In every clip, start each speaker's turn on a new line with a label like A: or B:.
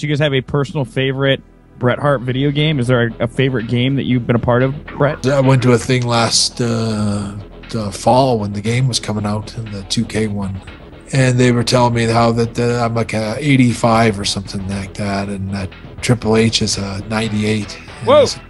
A: Do you guys have a personal favorite Bret Hart video game? Is there a, a favorite game that you've been a part of, Bret?
B: I went to a thing last uh, uh, fall when the game was coming out, and the 2K one, and they were telling me how that uh, I'm like a 85 or something like that, and that Triple H is a 98. And
A: Whoa.
B: I said-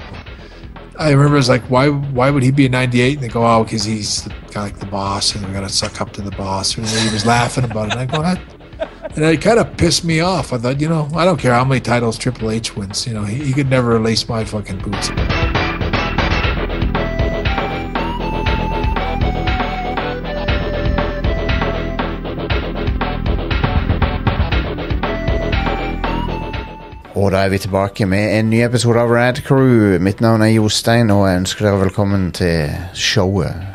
B: I remember it's like why why would he be a 98? And they go, oh, because he's the, kind of like the boss, and we got to suck up to the boss. And he was laughing about it. And I go, that, and it kind of pissed me off. I thought, you know, I don't care how many titles Triple H wins. You know, he, he could never lace my fucking boots.
C: Og da er vi tilbake med en ny episode av Rad Crew. Mitt navn er Jostein, og jeg ønsker dere velkommen til showet.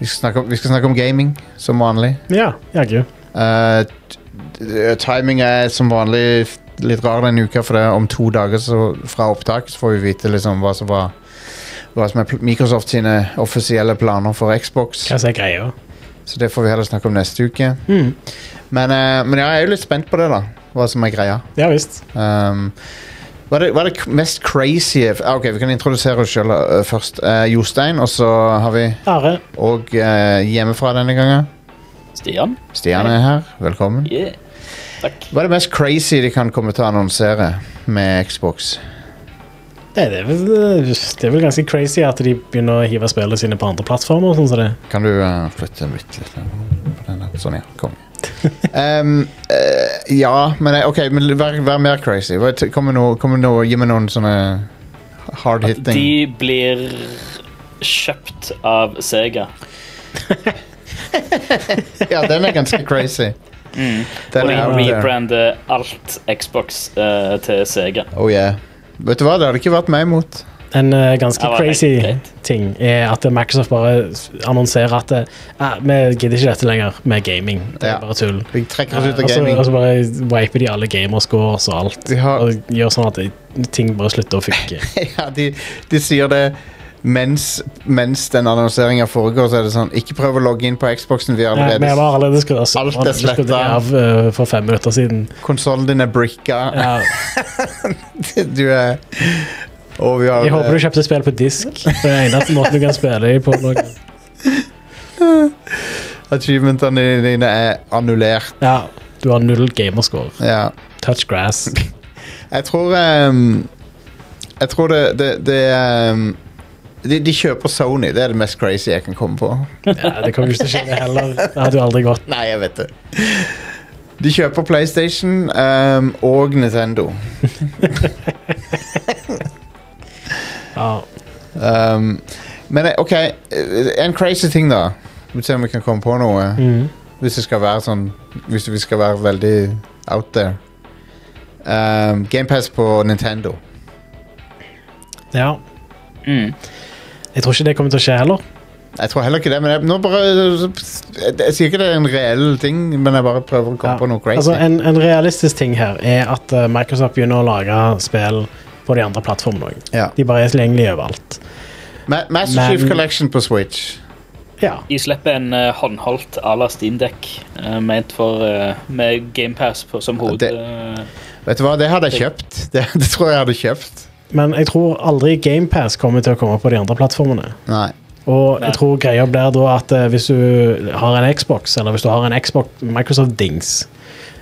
C: Vi skal snakke om, vi skal snakke om gaming, som vanlig.
D: Ja, jaggu.
C: Eh, t- t- timing er som vanlig f- litt rar denne uka, for det er om to dager så, fra opptak så får vi vite liksom hva som var hva som er pl- Microsoft sine offisielle planer for Xbox.
D: Hva som er greia?
C: Så det får vi heller snakke om neste uke.
D: Mm.
C: Men, eh, men ja, jeg er jo litt spent på det, da. Hva som er greia.
D: Ja visst.
C: Um, hva, er det, hva er det k- mest crazy ah, Ok, vi kan introdusere oss selv uh, først. Eh, Jostein, og så har vi
D: Are.
C: Og eh, hjemmefra denne gangen.
E: Stian?
C: Stian er her. Velkommen.
E: Yeah. Takk.
C: Hva er det mest crazy de kan komme til å annonsere med Xbox?
D: Det, det, er vel, det er vel ganske crazy at de begynner å hive spillene sine på andre plattformer. og Sånn som det.
C: Kan du eh, flytte den litt, litt på den der? Sånn, ja. Kom. Um, eh, ja, men eh, OK, men vær, vær mer crazy. Hva- t- Kom med noe, kom med noe, gi meg noen sånne hard hitting.
E: De blir kjøpt av Sega.
C: Ja, den er ganske crazy.
E: Og
C: Den
E: de
C: er out there.
E: rebrander alt Xbox eh, til Sega.
C: Oh yeah. Vet du hva, det hadde ikke vært meg imot.
D: En eh, ganske
E: Det var helt
D: crazy
E: greit.
D: ting er at Microsoft bare s- annonserer at eh, ah, vi gidder ikke dette lenger med gaming. Det er
C: Ja.
D: bare tull.
C: Vi trekker oss ut av
D: Og så
C: gaming.
D: og så bare wiper de alle gamerscores og alt.
C: De har-
D: Og gjør sånn at det- ting bare slutter å funke.
C: ja, de, de sier det mens, mens den annonseringa foregår, så er det sånn Ikke prøv å logge inn på Xboxen, vi har
D: Ja, Vi
C: allerede
D: har allerede skrudd av
C: Alt er
D: serveren. Vi skrudde
C: slettet.
D: av eh, for fem minutter siden. Eh,
C: Konsollen din er bricka.
D: Ja,
C: du er Og vi har
D: jeg håper du kjøpte spill på disk. Det er eneste måten du kan spille i på. nå.
C: eh, Achievementene dine er annullert.
D: Ja, du har null gamerscore.
C: Ja.
D: Touch grass.
C: Jeg tror ehm, Jeg tror det, det, det ehm, de, de kjøper Sony. Det er det mest crazy jeg kan komme på.
D: Ja, det kommer ikke til å skje det heller. Det hadde jo aldri gått.
C: Nei, jeg vet det. De kjøper PlayStation ehm, og Nintendo.
D: Ja.
C: Ehm, men eh, OK, eh, en crazy ting, da. Vi ser om vi kan komme på noe.
D: Mhm.
C: Hvis det skal være sånn Hvis vi skal være veldig out there. Um, GamePass på Nintendo.
D: ja.
E: Mm.
D: Jeg tror ikke det kommer til å skje heller.
C: Jeg tror heller ikke det, men jeg, nå bare jeg, jeg sier ikke det er en reell ting, men jeg bare prøver å komme
D: Ja.
C: på noe crazy.
D: Altså, en, en realistisk ting her er at eh, Microsoft begynner å lage spill på de andre plattformene òg.
C: ja.
D: De bare er tilgjengelige overalt.
C: Ma Master Chief
D: Men-
C: Collection på Switch.
D: Ja.
E: De slipper en eh, håndholdt à la Steam Deck eh, ment for eh, med GamePass på- som hoved...
C: Det-
E: eh,
C: Vet du hva, det hadde jeg kjøpt. Det, det tror jeg jeg hadde kjøpt.
D: Men jeg tror aldri GamePass kommer til å komme på de andre plattformene.
C: Nei.
D: Og
E: Nei.
D: jeg tror greia blir da at eh, hvis du har en Xbox, eller hvis du har en Xbox Microsoft-dings,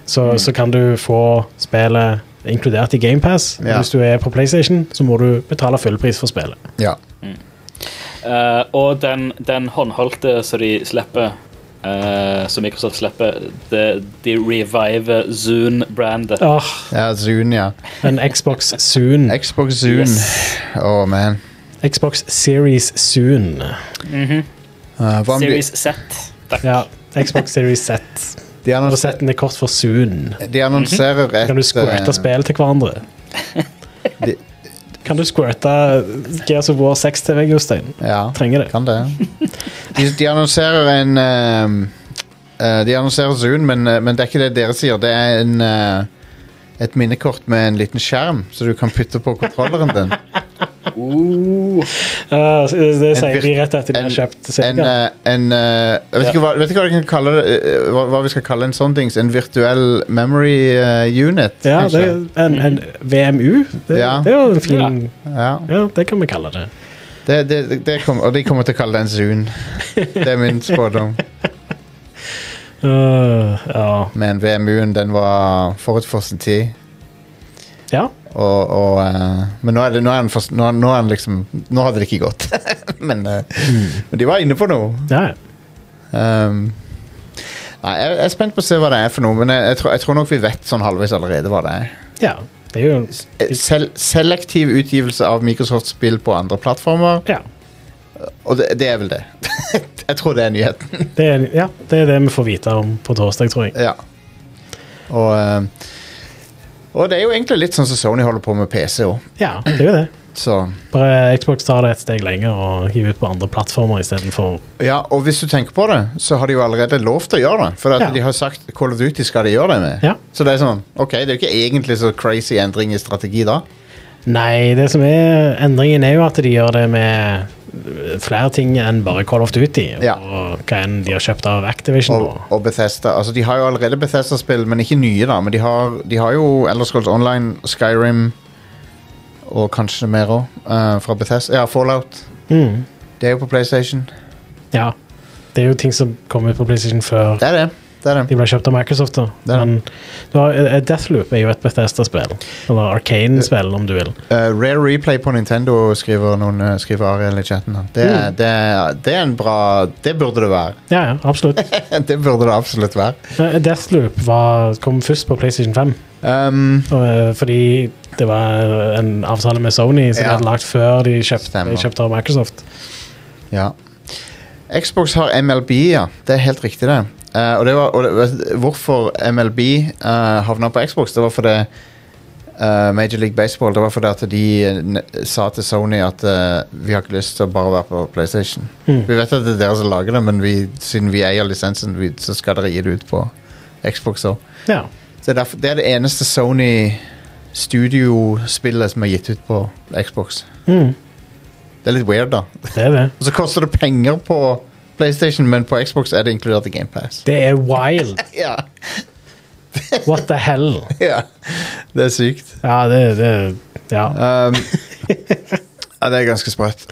D: så, så kan du få spillet inkludert i GamePass.
C: Ja.
D: Hvis du er på PlayStation, så må du betale fullpris for spillet.
C: Ja.
E: eh, og den, den håndholdte som de slipper, eh, som Microsoft slipper, det- de reviver Zoon-brandet.
D: Åh,
C: ja Zoon, ja.
D: en Xbox Soon.
C: Xbox Zoon. Oh, man.
D: Xbox Series Soon.
C: Uh, hva om de,
E: Series Z. Takk.
D: Ja, Xbox Series Z.
C: de,
D: Og
C: annonser,
D: Z-en er kort for Soon.
C: de annonserer et
D: Kan du
C: eh,
D: squirte spill til hverandre?
C: De-
D: Kan du squirte Gears of War 6 til vegg, Jostein?
C: Ja.
D: Trenger det.
C: Kan det. De, de annonserer en ehm, eh, De annonserer Zoom, men, eh, men det er ikke det dere sier. Det er en, eh, et minnekort med en liten skjerm, så du kan putte på kontrolleren din.
D: Eh, så det det sier de
C: vir-
D: rett etter de
C: en-
D: har kjøpt
C: En,
D: serien.
C: eh, en eh, jeg vet,
E: Ja.
C: ikke hva, vet ikke hva, de kan kalle det, eh, hva, hva vi skal kalle en sånn dings. En virtuell memory eh, unit.
D: Ja, det,
C: kanskje?
D: en, en VMU. Det,
C: Ja.
D: det er jo en fin
C: ja.
D: Ja, det kan vi kalle det.
C: Det, det, det- det kom, og de kommer til å kalle det en Zoon. Det er min spådom.
D: Eh, ja.
C: Men VMU-en den var forut for sin tid.
D: ja.
C: Og, og, eh, men nå er, det, nå, er den for, nå, nå er den liksom Nå hadde det ikke gått. men, eh, men de var inne på noe.
D: Ja, ja.
C: Um, nei, jeg, jeg er spent på å se hva det er for noe, men jeg, jeg, tror, jeg tror nok vi vet sånn halvveis allerede hva det er.
D: ja. Det er jo
C: Eh, Sel selektiv utgivelse av Microsoft-spill på andre plattformer,
D: Ja.
C: og det, det er vel det. jeg tror det er nyheten.
D: Det er, ja, det er det vi får vite om på torsdag, tror jeg.
C: Ja. Og, eh, og det er jo egentlig litt sånn som Sony holder på med PC òg,
D: Ja, det er jo det.
C: så
D: Bare Xbox tar det et steg lenger og hiver ut på andre plattformer istedenfor
C: Ja, og hvis du tenker på det, så har de jo allerede lov til å gjøre det. For at
D: Ja.
C: de har sagt Call of Duty skal de gjøre det med.
D: Ja.
C: Så det er sånn, ok, det er jo ikke egentlig så crazy endring i strategi da.
D: Nei, det som er endringen er jo at de gjør det med flere ting enn bare Call of Duty.
C: Ja.
D: Og hva enn de har kjøpt av Activision.
C: Og,
D: Og,
C: og Bethesda. Altså, de har jo allerede Bethesda-spill, men ikke nye, da. Men de har, de har jo Elder Scrolls Online, Skyrim og kanskje mer òg. fra Bethesda. Ja, Fallout.
D: mm,
C: Det er jo på PlayStation.
D: ja. Det er jo ting som kom ut på PlayStation før
C: Det er det. det, er det.
D: de ble kjøpt av Microsoft. da.
C: Det er det.
D: Men du har, eh, Deathloop er jo et Bethesda-spill. Eller Arcane-spill, om du vil.
C: Eh, Rare Replay på Nintendo skriver, noen, eh, skriver Ariel i chatten. her. Det, er- det, er- det er en bra Det burde det være.
D: Ja, ja, absolutt.
C: det burde det absolutt være.
D: Eh, Deathloop var, kom først på PlayStation 5.
C: Um,
D: Eh, Fordi det var en avtale med Sony som
C: Ja.
D: de hadde lagt før de kjøpte,
C: Stemmer.
D: kjøpte av Microsoft.
C: ja. Xbox har MLB, ja. Det er helt riktig, det. Eh, og det var, og det, hvorfor MLB uh, havna på Xbox, det var fordi eh, Major League Baseball Det var fordi at de eh, n- sa til Sony at eh, vi har ikke lyst til å bare være på PlayStation.
D: Mm.
C: Vi vet at det er dere som lager det, men vi, siden vi eier lisensen, vi, så skal dere gi det ut på Xbox òg.
D: Ja.
C: Så det er derfor- det er det eneste Sony studiospillet som er gitt ut på Xbox.
D: Mm,
C: Det er litt weird, da.
D: det er det.
C: Og så koster det penger på PlayStation, men på Xbox er det inkludert i GamePass.
D: Det er wild.
C: Ja,
D: What the hell?
C: ja. Det er sykt.
D: Ja, det, det ja.
C: Um, ja, det er ganske sprøtt.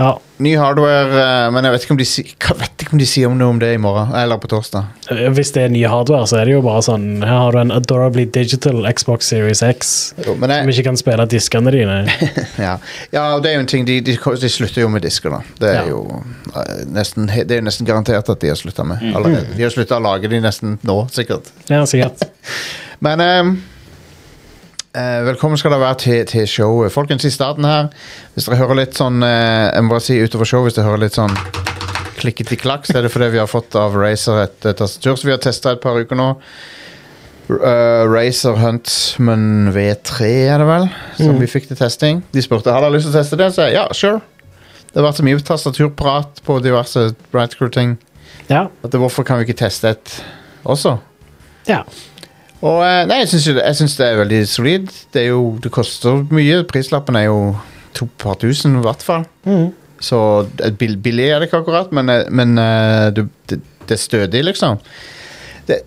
D: ja.
C: Ny hardware, eh, men jeg vet ikke om de, si, jeg vet ikke om de sier noe om det i morgen. Eller på torsdag.
D: Hvis det er ny hardware, så er det jo bare sånn Her har du en adorably digital Xbox Series X
C: Jo, men
D: som
C: jeg,
D: ikke kan spille diskene dine.
C: ja. ja, og det er jo en ting. De, de, de slutter jo med disker, da. Det
D: Ja.
C: er jo eh, nesten, he- det er jo nesten garantert at de har slutta med. Allerede. De har slutta å lage de nesten nå, sikkert.
D: Ja, sikkert.
C: Men ehm, eh, velkommen skal dere være til, til showet. Folkens, i starten her, hvis dere hører litt sånn eh, Jeg må bare si utover showet, hvis dere hører litt sånn klikket i klakk, så er det fordi vi har fått av Razer et, eh, tastatur som vi har testa et par uker nå. Uh, Razer Huntsman V3, er det vel, som vi fikk til testing. De spurte har dere lyst til å teste det, så jeg ja, sure. Det har vært så mye tastaturprat på diverse Brightcrew-ting
D: Ja.
C: at hvorfor kan vi ikke teste et også?
D: ja.
C: Og eh, nei, jeg syns, jo det, jeg syns det er veldig solid. Det, er jo, det koster mye. Prislappen er jo to par tusen, i hvert fall.
D: Mhm.
C: Så eh, bill- billig er det ikke akkurat, men, eh, men eh, du, det, det er stødig, liksom. Det,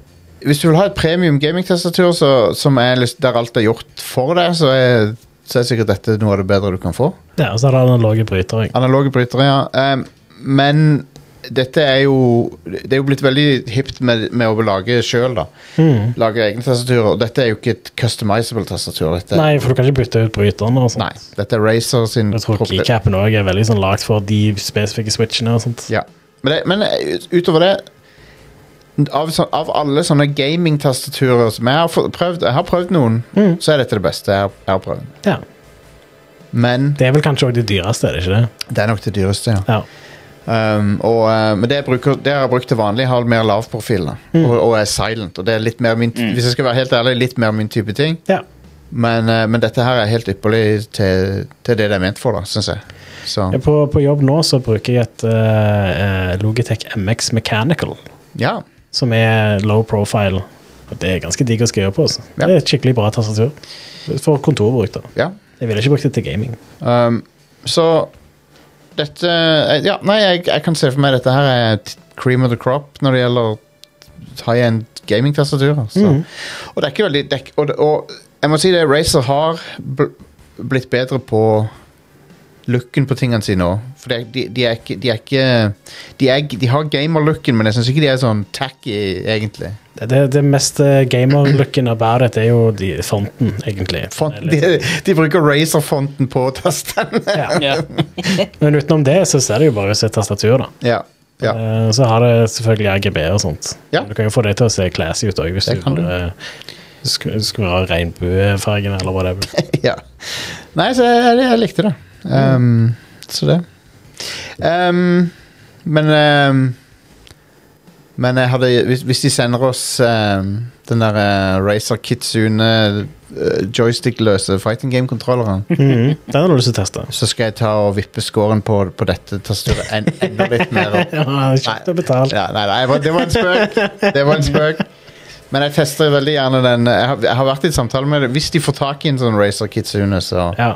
C: hvis du vil ha et premium gamingtestatur så- som er lyst- der alt er gjort for deg, så er, så er sikkert dette noe av det bedre du kan få.
D: ja. Og så har du analoge brytere.
C: Analoge brytere, ja. Ehm, men dette er jo Det er jo blitt veldig hipt med, med å lage sjøl, da.
D: Mhm.
C: Lage egne tastaturer. Og dette er jo ikke et customizable tastatur. Dette,
D: Nei, for du kan ikke bytte ut bryterne. og sånt.
C: Nei, Dette er Razer sin
D: Jeg tror
C: propri-
D: keycapen òg er veldig sånn lagd for de spesifikke switchene. og sånt.
C: Ja. Men, det, men eh, ut- utover det av, sånn- av alle sånne gamingtastaturer som jeg har få- prøvd Jeg har prøvd noen,
D: Mm.
C: så er dette det beste jeg har, jeg har prøvd.
D: Ja.
C: Men
D: Det er vel kanskje òg det dyreste, er det ikke det?
C: det er nok det dyreste, ja.
D: Ja.
C: Um, og, eh, men det jeg, bruker, det jeg har brukt til vanlig, har mer lav profil. da. Og, og er silent. Og det er litt mer min, Hvis jeg skal være helt ærlig, litt mer min type ting.
D: ja.
C: Men, eh, men dette her er helt ypperlig til, til det det er ment for, da, syns jeg. Så
D: På, på jobb nå så bruker jeg et eh, eh, Logitech MX Mechanical,
C: ja.
D: som er low profile. Og Det er ganske digg å skrive på. Altså.
C: Ja.
D: Det er et skikkelig bra tastatur. For kontorbruk, da.
C: ja.
D: Jeg ville ikke brukt det til gaming.
C: Um, så dette eh, Ja, nei, jeg, jeg kan se for meg dette her er t- cream of the crop når det gjelder high-end gaming-tastaturer. så. Og det er ikke veldig det er, ikke- og, det- og jeg må si det, Razer har bl- blitt bedre på looken på tingene sine òg. For det, de, de er ikke De, er ikke, de, er, de har gamer-looken, men jeg syns ikke de er sånn tacky, egentlig.
D: Det, det, det mest eh, gamer-looken about it er jo de, fonten, egentlig.
C: Font, de, de bruker Razer-fonten på tastene.
D: Ja.
E: Ja.
D: Men utenom det så ser det jo bare ut som et tastatur, da.
C: ja. ja.
D: Eh, Så har det selvfølgelig RGB og sånt.
C: Ja.
D: Du kan jo få det til å se classy ut òg, hvis
C: Det
D: du
C: kan du.
D: bare sk- skrur av regnbuefargen eller hva det er.
C: ja. Nei, så jeg, jeg likte det. Um, Så det. Um, men um, Men jeg hadde Hvis, hvis de sender oss um, den der uh, Razer Kitsune uh, joystickløse fighting game-kontrolleren,
D: Mhm. Den har du lyst til å teste.
C: så skal jeg ta og vippe scoren på, på dette tastaturet en, enda litt mer opp.
D: Ja, kjøpt og betalt.
C: Ja, nei, nei, jeg var- det var en spøk. Det var en spøk. Men jeg tester veldig gjerne den. Jeg har, jeg har vært i en samtale med det. Hvis de får tak i en sånn Razer Kitsune, så
D: Ja.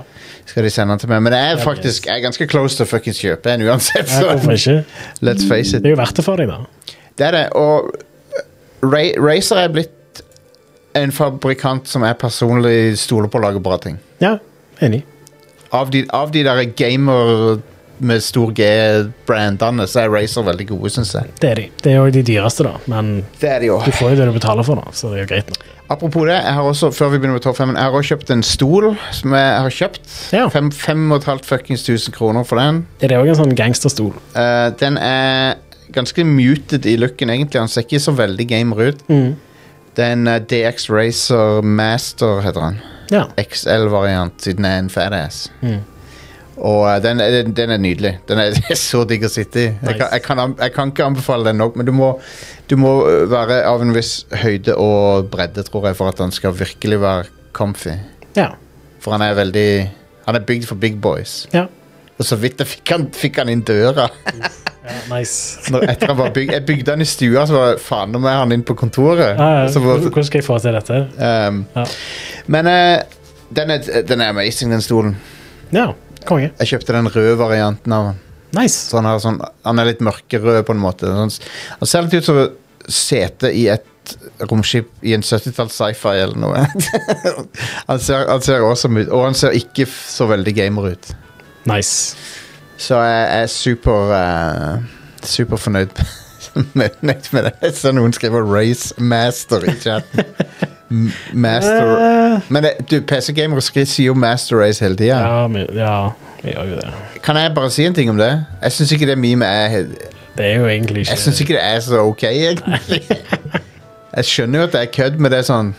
C: skal de sende den til meg. Men jeg er faktisk jeg er ganske close til å fuckings kjøpe en uansett,
D: ja, hvorfor
C: så
D: ikke?
C: let's face
D: Det
C: it.
D: er jo verdt det for deg, da.
C: Det er det. Og eh, Ra Razer er blitt en fabrikant som jeg personlig stoler på å lage bra ting.
D: Ja, enig.
C: Av de, av de der gamer med stor G-brandene, så er Razer veldig gode, syns jeg.
D: Det er de. Det er jo de dyreste, da, men
C: Det er de jo.
D: du får jo det du betaler for, da, så det er jo greit. nå.
C: Apropos det, jeg har også før vi begynner med topp 5, jeg har også kjøpt en stol som jeg har kjøpt.
D: Ja.
C: Fem, fem og et halvt fuckings tusen kroner for den.
D: Er det òg en sånn gangsterstol?
C: Eh, den er ganske muted i looken, egentlig. Han ser ikke så veldig gamer ut. Det er en eh, DX Racer Master, heter han.
D: Ja.
C: XL-variant, siden jeg er en fadass. Og eh, den, er- den, den er nydelig. Den er, det er så digg å sitte i. Jeg, kan,
D: Nice.
C: jeg, kan, an- jeg kan ikke anbefale den nok, men du må, du må eh, være av en viss høyde og bredde, tror jeg, for at han skal virkelig være comfy.
D: ja.
C: For han er veldig Han er bygd for big boys.
D: Ja.
C: Og så vidt jeg fikk han, fikk han inn døra.
D: ja nice.
C: Når, etter han var bygd, jeg bygde han i stua, så var det, faen, nå må jeg ha han inn på kontoret.
D: Ja, ja.
C: Så var-
D: Hvordan skal jeg få til dette?
C: ehm,
D: Ja.
C: Men eh, den, er, den er amazing, den stolen.
D: Ja, konge.
C: Jeg kjøpte den røde varianten av den.
D: Nice.
C: Så han, har sånn, han er litt mørkerød, på en måte. Sånn, s- han ser litt ut som sete i et romskip i en 70-talls sci-fi eller noe. han, ser, han ser awesome ut, og han ser ikke f- så veldig gamer ut.
D: Nice.
C: Så jeg er super eh, Super fornøyd med, nøyd med det. Jeg ser noen skriver 'Race Master' i chatten. M- Master
D: Eh,
C: Men det, du, PC-gamere skri- sier jo 'Master Race' hele tida.
D: Ja, vi, ja, vi gjør jo det.
C: Kan jeg bare si en ting om det? Jeg syns ikke det memet er he-
D: Det er jo egentlig ikke
C: Jeg syns ikke det er så ok, egentlig. Jeg skjønner jo at det er kødd, men det er sånn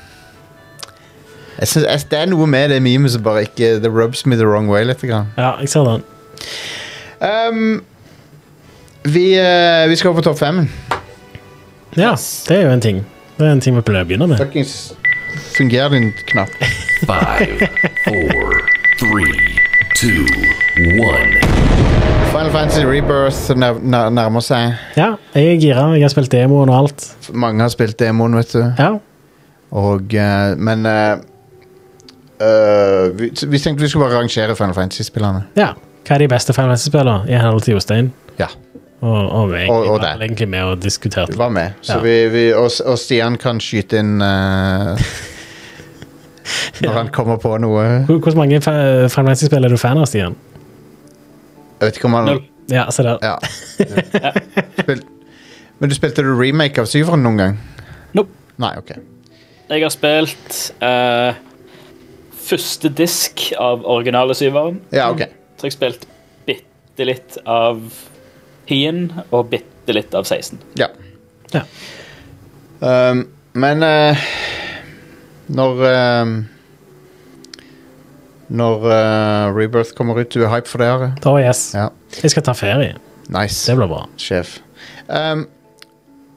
C: jeg synes, jeg, Det er noe med det memet som bare ikke Det rubs me the wrong way litt. Grann.
D: Ja, jeg ser den.
C: Um, vi, eh, vi skal over på topp fem.
D: Ja, det er jo en ting. Det er en ting vi pleier å begynne med.
C: Fuckings fungerer din knapp.
F: Five, four, three, two, one.
C: Final Fantasy Rebirth nær, nær, nærmer seg.
D: Ja, jeg er gira. Jeg har spilt demoen og alt.
C: Mange har spilt demoen, vet du.
D: Ja,
C: Og, eh, men eh, eh, vi, så vi tenkte vi skulle bare rangere Final Fantasy-spillerne.
D: ja. Hva er de beste Final Fantasy-spillene? I henhold til Jostein
C: Ja,
D: og, og meg.
C: Og- og
D: Jeg var
C: deg.
D: egentlig med og
C: du
D: diskuterte.
C: var med. Så
D: Ja.
C: vi, vi, og, og Stian kan skyte inn eh, når han kommer på noe.
D: Hvor- Hvor mange fa- Final Fantasy-spill er du fan av, Stian?
C: Jeg vet ikke om han
E: Null.
D: Ja, se der.
C: Ja. Spil, men du spilte du remake av Syveren noen gang?
E: Nope.
C: Nei, ok.
E: Jeg har spilt eh, første disk av originale syveren.
C: Ja, ok.
E: Så jeg har spilt bitte litt av Hien og bitte litt av 16.
C: Ja.
D: Ja.
C: Ehm, men eh, når ehm, Når eh, Rebirth kommer ut, du er hype for det? Are?
D: Å, yes.
C: Ja.
D: Jeg skal ta ferie.
C: Nice,
D: Det blir bra.
C: sjef. Ehm,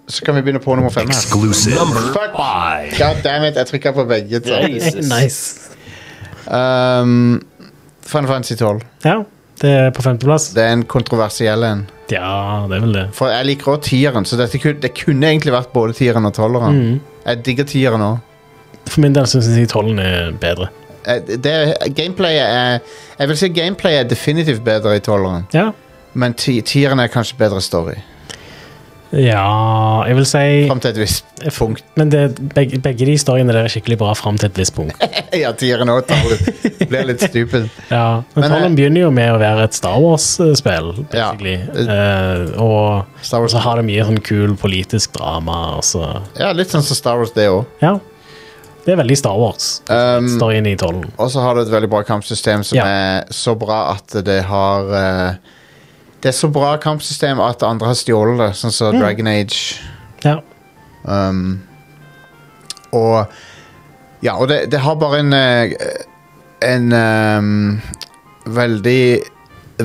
C: så kan vi begynne på nummer fem her.
F: Exclusive. Number
C: Fuck.
F: five.
C: God damn it, jeg trykka på begge. så.
E: Jesus.
D: Nice.
C: Ehm, Final Fantasy 12.
D: Ja, det er på femteplass.
C: Det er en kontroversiell en.
D: Ja, det er vel det.
C: For jeg liker òg tieren, så dette kunne, det kunne egentlig vært
D: Mm.
C: både tieren og tolveren. Jeg digger tieren òg.
D: For min del syns jeg tollen er bedre.
C: eh, det, Gameplayet er Jeg vil si gameplayet er definitivt bedre i tolveren,
D: Ja.
C: men ti- tieren er kanskje bedre story.
D: ja, jeg vil si
C: Fram til et visst punkt.
D: Men det, begge, begge de historiene der er skikkelig bra fram til et visst punkt.
C: Ja, tieren òg blir litt stupid.
D: Ja, men
C: Men,
D: Tollen
C: eh,
D: begynner jo med å være et Star Wars-spill,
C: Ja.
D: basically. Eh, og
C: Star
D: og
C: Wars,
D: så har det mye sånn kul politisk drama, og så
C: ja, litt sånn som Star Wars, det òg.
D: Ja. Det er veldig Star Wars.
C: Um,
D: Storyen i Tollen.
C: Og så har du et veldig bra kampsystem som
D: Ja.
C: er så bra at det har eh, Det er så bra kampsystem at andre har stjålet det, sånn som Dragon Age.
D: Ja.
C: Um, og Ja, og det, det har bare en eh, En ehm, veldig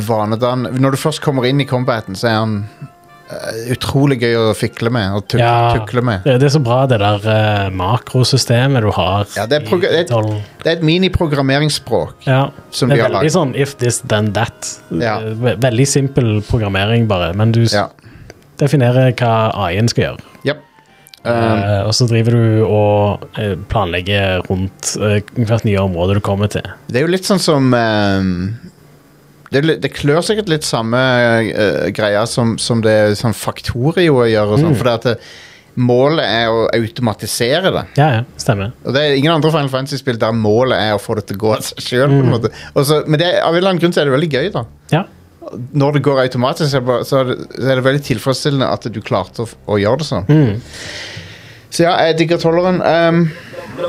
C: vanedan Når du først kommer inn i combaten, så er han eh, utrolig gøy å fikle med og tuk
D: Ja.
C: tukle med.
D: Det, det er så bra, det der eh, makrosystemet du har
C: Ja, det er prog-
D: i
C: det-
D: Tollen.
C: Det er et miniprogrammeringsspråk.
D: Ja.
C: Som
D: det
C: de
D: er
C: har
D: veldig
C: lagd.
D: sånn if this, then that.
C: Ja.
D: Eh, ve- Veldig simpel programmering, bare. Men du s-
C: Ja.
D: definerer hva AI-en skal gjøre.
C: Yep. Um.
D: Eh, og så driver du og eh, planlegger rundt eh, hvert nye område du kommer til.
C: Det er jo litt sånn som ehm, det, er litt- det klør sikkert litt samme eh, greia som, som det sånn Faktorio gjør. Og
D: Mm.
C: sånn, For det at det, målet er å automatisere det.
D: Ja, ja, stemmer.
C: Og det er ingen andre Final Fantasy-spill der målet er å få det til å gå av seg sjøl.
D: Mm.
C: Men det, av en eller annen grunn så er det veldig gøy, da.
D: Ja,
C: Når det går automatisk, så er det, bare, så er det, så er det veldig tilfredsstillende at du klarte å, f- å gjøre det sånn.
D: Mm.
C: Så ja, jeg digger tolleren. Ehm,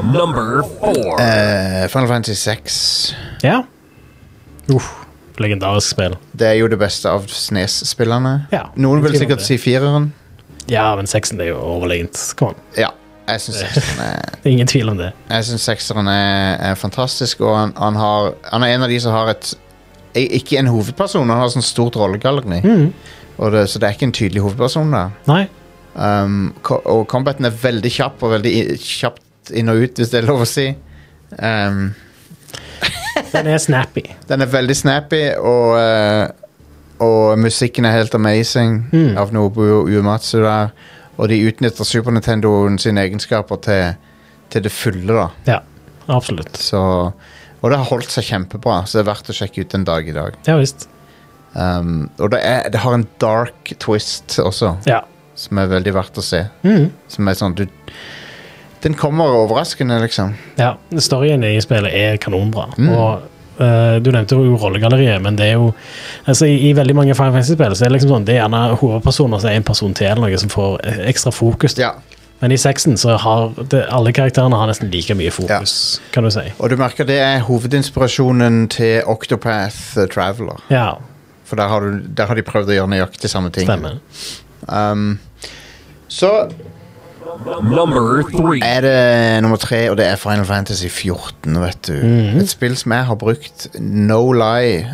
F: Number four.
C: eh, Final Fantasy 6
D: ja. Uff, legendarisk spill.
C: det er jo det beste av Snes-spillene.
D: Ja,
C: Noen vil
D: det er
C: sikkert
D: det.
C: si fireren.
D: Ja, men sexen er jo overlegent. Kom an.
C: Ja. Jeg syns sekseren E er,
D: Det er ingen tvil om det.
C: jeg synes sekseren er, er fantastisk, og han, han, har, han er en av de som har et i- Ikke en hovedperson, han har sånn stort rollegalleri. Og det, så det er ikke en tydelig hovedperson der.
D: Nei.
C: Um, ko- og combaten er veldig kjapp, og veldig i, kjapt inn og ut, hvis det er lov å si. Um,
D: Den er snappy.
C: den er veldig snappy, og, eh, og musikken er helt amazing av Nobu Uematsu der. Og de utnytter Super Nintendoen sine egenskaper til, til det fulle, da.
D: Ja, absolutt.
C: Så, og det har holdt seg kjempebra, så det er verdt å sjekke ut en dag i dag.
D: Ja visst.
C: Um, og det, er, det har en dark twist også,
D: Ja.
C: som er veldig verdt å se. Som er sånn du, Den kommer overraskende, liksom.
D: ja. Storyen i spillet er kanonbra.
C: Mm.
D: Og eh, du nevnte jo rollegalleriet, men det er jo altså, i, I veldig mange Final Fantasy-spill så er det liksom sånn, det er gjerne hovedpersoner som er en person til, eller noe som får eh, ekstra fokus.
C: Ja.
D: Men i sexen så har det, alle karakterene har nesten like mye fokus, kan du si.
C: Og du merker det er hovedinspirasjonen til Octopath Traveler.
D: Ja,
C: For der har, du, der har de prøvd å gjøre nøyaktig samme ting.
D: stemmer.
C: Så
F: Number three.
C: er det nummer tre, og det er Final Fantasy 14, vet du. Et spill som jeg har brukt no lie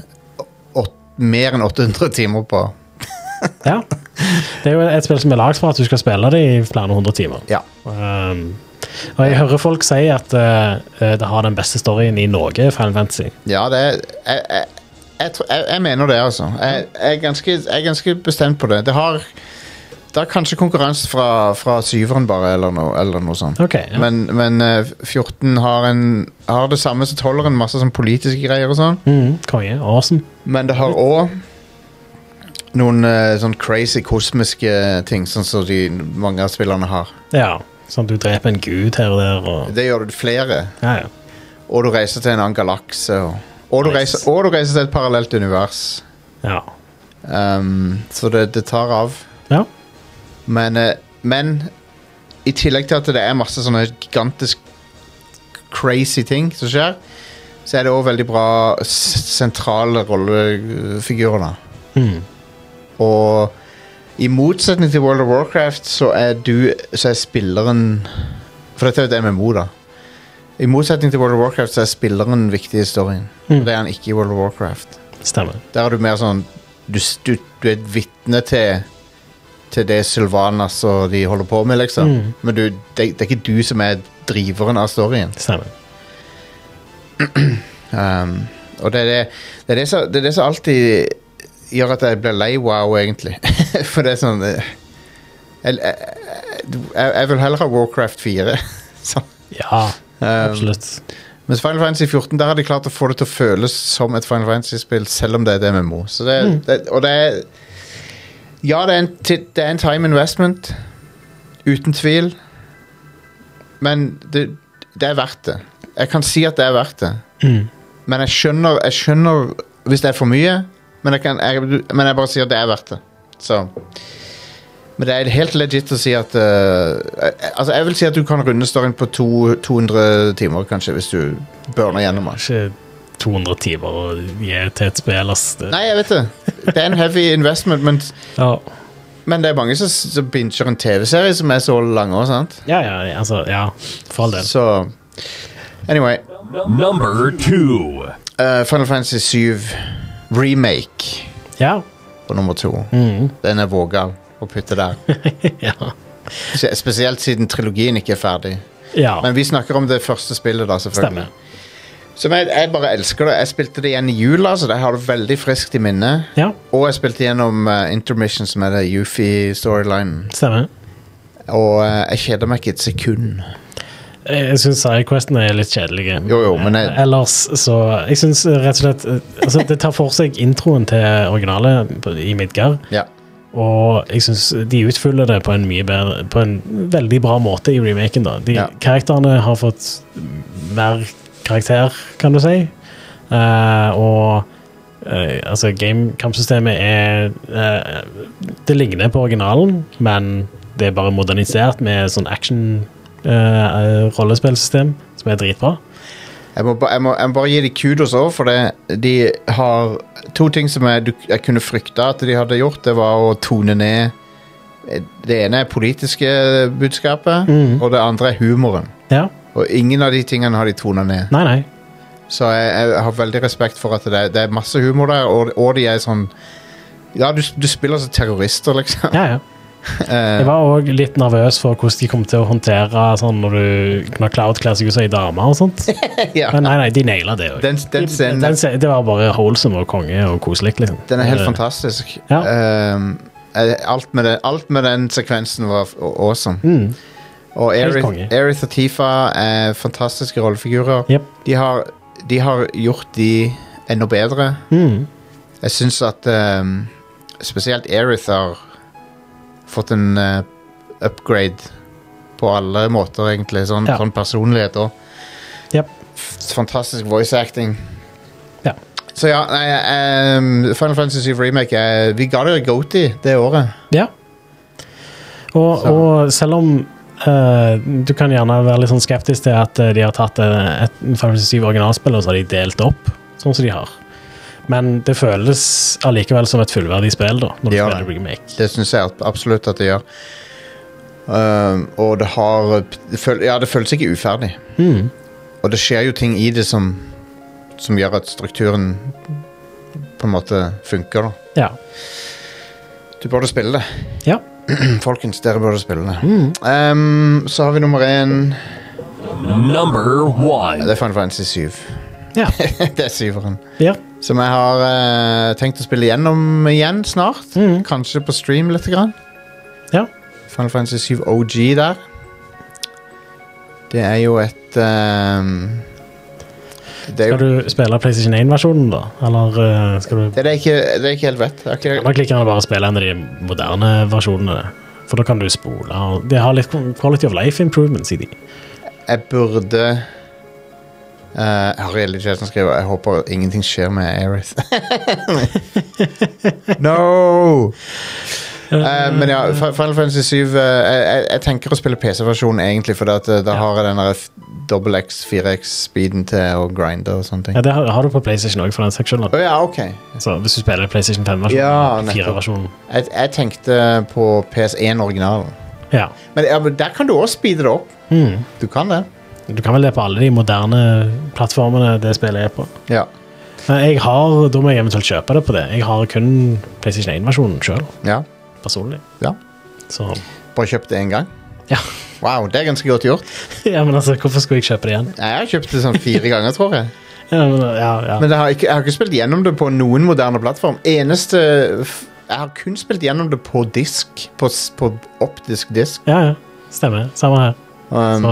C: åt, mer enn 800 timer på.
D: Ja. Det er jo et spill som er lagd for at du skal spille det i flere hundre timer.
C: Ja.
D: Um, og jeg hører folk si at eh, det har den beste storyen i Norge, Final Fantasy.
C: Ja, det er jeg, jeg, jeg, tror- jeg, jeg mener det, altså. Jeg, jeg, er ganske, jeg er ganske bestemt på det. Det har det er kanskje konkurranse fra, fra syveren, bare, eller noe, eller noe sånt.
D: Ok, ja.
C: Men, men eh, 14 har, en, har det samme som 12-eren, masse sånn politiske greier og sånn.
D: Mm, konge. Awesome.
C: Men det har òg noen eh, sånn crazy kosmiske ting, sånn som de, mange av spillerne har.
D: Ja. Sånn at du dreper en gud her og der og
C: Det gjør du flere.
D: Ja, ja.
C: Og du reiser til en annen galakse. Og, og, du
D: Nice.
C: reiser- og du reiser til et parallelt univers.
D: ja.
C: Um, så det, det tar av.
D: ja.
C: Men, eh, men i tillegg til at det er masse sånne gigantisk crazy ting som skjer, så er det òg veldig bra s- sentrale rollefigurer, da.
D: Hmm.
C: Og i motsetning til World of Warcraft, så er du Så er spilleren For dette er jo et MMO, da. I motsetning til World of Warcraft, så er spilleren viktig i storyen. Og Det er han ikke i World of Warcraft.
D: Stemmer.
C: Der er du mer sånn Du, s- du, du er et vitne til Til det Sylvanas og de holder på med, liksom. Men du, det, det er ikke du som er driveren av storyen.
D: Stemmer.
C: Um, og det er det, det, er det, som, det er det som alltid gjør at jeg blir lei wow, egentlig. For det er sånn eh, Jeg, jeg, jeg- jeg vil heller ha Warcraft 4. så, um,
D: Ja, absolutt.
C: Mens Final Fantasy 14 der har de klart å få det til å føles som et Final Fantasy-spill, selv om det er et MMO. Så det, det, og det er Ja, det er, en, ti- det er en time investment, uten tvil, men det, det er verdt det. Jeg kan si at det er verdt det. Men jeg skjønner, jeg skjønner hvis det er for mye, men jeg, kan, jeg, men jeg bare sier at det er verdt det. Så men det er helt legit å si at eh, eh, Altså Jeg vil si at du kan runde storyen på to, 200 timer, kanskje, hvis du burner gjennom den.
D: Ikke 200 timer å gi til et spill, ass. Det,
C: Nei, jeg vet det. Det er en heavy investment, men,
D: Ja.
C: men det er mange som, som binger en TV-serie som er så lang òg, sant?
D: ja, ja, altså, ja. For all del.
C: Så Anyway.
F: Number two.
C: eh, Final Fantasy 7 remake
D: Ja.
C: på nummer to.
D: Mm.
C: Den er vågal å putte der.
D: ja.
C: Se- Spesielt siden trilogien ikke er ferdig.
D: ja.
C: Men vi snakker om det første spillet, da, selvfølgelig.
D: Stemmer.
C: Som jeg, jeg bare elsker det. Jeg spilte det igjen i jula, så det har det veldig friskt i minnet.
D: Ja,
C: Og jeg spilte gjennom eh, Intermission, som er det Yufi-storylinen.
D: stemmer.
C: Og eh, jeg kjeder meg ikke et sekund.
D: Jeg jeg syns sidequestene er litt kjedelige.
C: Jo, jo, men jeg-
D: Ellers så Jeg syns rett og slett eh, altså, Det tar for seg introen til originalet på- i Midgard,
C: Ja.
D: og jeg syns de utfyller det på en mye bedre På en veldig bra måte i remaken. da de,
C: Ja.
D: Karakterene har fått mer karakter, kan du si. Eh, og eh, altså, gamekampsystemet er eh, Det ligner på originalen, men det er bare modernisert med sånn action-rollespillsystem, som er dritbra.
C: Jeg må, ba- jeg, må, jeg må bare gi dem kudos òg, for det, de har To ting som jeg, du- jeg kunne frykta at de hadde gjort, det var å tone ned eh, Det ene er politiske budskapet,
D: Mhm.
C: og det andre er humoren.
D: Ja.
C: Og ingen av de tingene har de tona ned.
D: Nei, nei.
C: Så jeg, jeg har veldig respekt for at det er, det er masse humor der, og, og de er sånn Ja, du, du spiller som terrorister, liksom.
D: Ja, ja.
C: Eh.
D: Jeg var òg litt nervøs for hvordan de kom til å håndtere sånn når du når Cloud kler seg ut som ei dame og sånt.
C: Ja.
D: Men nei, nei, de naila det òg.
C: Den, den scenen
D: Den se- Det var bare holsom og konge og koselig, liksom.
C: den er helt
D: Eh,
C: fantastisk.
D: Ja.
C: Ehm, eh, alt, med den, alt med den sekvensen var f- awesome.
D: Mm.
C: Og
D: Helt
C: Aerith
D: konge.
C: Aerith og Tifa er fantastiske rollefigurer.
D: Jep.
C: De, har, de har gjort de enda bedre.
D: Mm.
C: Jeg syns at ehm, spesielt Aerith har fått en eh, upgrade på alle måter, egentlig. Sånn,
D: Ja.
C: sånn personlighet og
D: Jep.
C: f- fantastisk voice acting.
D: Ja.
C: Så ja, nei, ehm, Final Fantasy 7 Remake eh, Vi ga det Goaty det året.
D: Ja. Og,
C: Så-
D: og selv om eh, du kan gjerne være litt sånn skeptisk til at eh, de har tatt eh, et 57 originalspill og så har de delt opp, sånn som de har. Men det føles allikevel som et fullverdig spill, da, når du
C: Ja,
D: spiller
C: det.
D: remake.
C: Det syns jeg ab- absolutt at det gjør. Ehm, og det har eh, p- det føl, Ja, det føles ikke uferdig.
D: Mm.
C: Og det skjer jo ting i det som, som gjør at strukturen på en måte funker, da.
D: Ja.
C: Du burde spille det.
D: Ja.
C: Mm, Folkens, dere burde spille det. Ehm, så har vi nummer én.
F: Number
C: Ja,
F: one.
C: Det er Final Fantasy 7.
D: Ja.
C: det er syveren.
D: ja.
C: Som jeg har eh, tenkt å spille gjennom igjen snart.
D: Mhm.
C: Kanskje på stream litt. Grann.
D: Ja.
C: Final Fantasy 7 OG der. Det er jo et ehm, det, er
D: Skal
C: jo,
D: du spille PlayStation 1-versjonen, da? Eller eh, skal du
C: det er det jeg ikke, det er jeg ikke helt vet. Jeg har ikke,
D: Eller klikker han bare spille en av de moderne versjonene? For da kan du spole. og Det har litt quality of life improvements i de.
C: jeg burde eh, Ariel i Jason skriver Jeg håper ingenting skjer med Aerith. no! Eh, men ja, Fi- Final Fantasy 7 eh, jeg, jeg, jeg tenker å spille PC-versjonen egentlig, for at, eh, da
D: Ja.
C: har jeg den der dobbel X, 4X-speeden til å grinde og sånne ting.
D: Ja, det har, har du på PlayStation òg, for den saks skyld. da.
C: Å ja, ok.
D: Så hvis du spiller PlayStation 5-versjonen,
C: Ja,
D: ja,
C: nettopp.
D: 4-versjonen
C: Jeg, jeg tenkte på PS1-originalen.
D: Ja.
C: Men, ja, men der kan du også speede det opp.
D: Mm.
C: Du kan det.
D: Du kan vel det på alle de moderne plattformene det spillet er på.
C: Ja.
D: Men jeg har, da må jeg eventuelt kjøpe det på det. Jeg har kun PlayStation 1-versjonen sjøl,
C: ja.
D: personlig.
C: Ja.
D: Så
C: Bare kjøpt det én gang.
D: ja.
C: Wow, det er ganske godt gjort.
D: ja, men altså, hvorfor skulle jeg kjøpe det igjen?
C: Jeg har kjøpt det sånn fire ganger, tror jeg.
D: Ja, men, ja, ja.
C: Men jeg har, ikke, jeg har ikke spilt gjennom det på noen moderne plattform. Eneste f- Jeg har kun spilt gjennom det på disk. På, s- på optisk disk.
D: ja, ja. Stemmer. Samme her.
C: Um,
D: Så,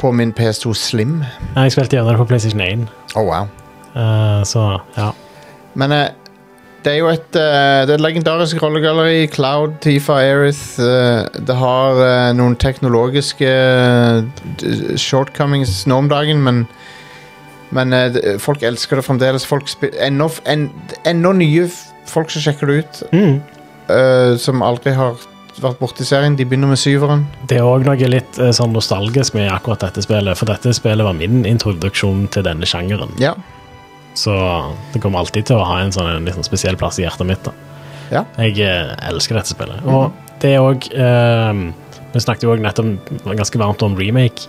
C: på min PS2 Slim.
D: nei, jeg spilte gjennom det på PlayStation 1,
C: Oh, wow.
D: eh, så ja.
C: Men eh, det er jo et eh, Det er et legendarisk rollegalleri. Cloud, Tifa, Aerith. eh, det har eh, noen teknologiske eh, d- shortcomings nå om dagen, men men eh, det- folk elsker det fremdeles. Folk spi- Ennå f- en, ennå nye f- folk som sjekker det ut,
D: Mm.
C: eh, som aldri har vært borti serien. De begynner med syveren.
D: Det er òg noe litt eh, sånn nostalgisk med akkurat dette spillet, for dette spillet var min introduksjon til denne sjangeren.
C: Ja.
D: Så det kommer alltid til å ha en sånn en litt sånn spesiell plass i hjertet mitt. da.
C: Ja.
D: Jeg eh, elsker dette spillet. Og det er òg eh, Vi snakket jo òg nettopp ganske varmt om remake,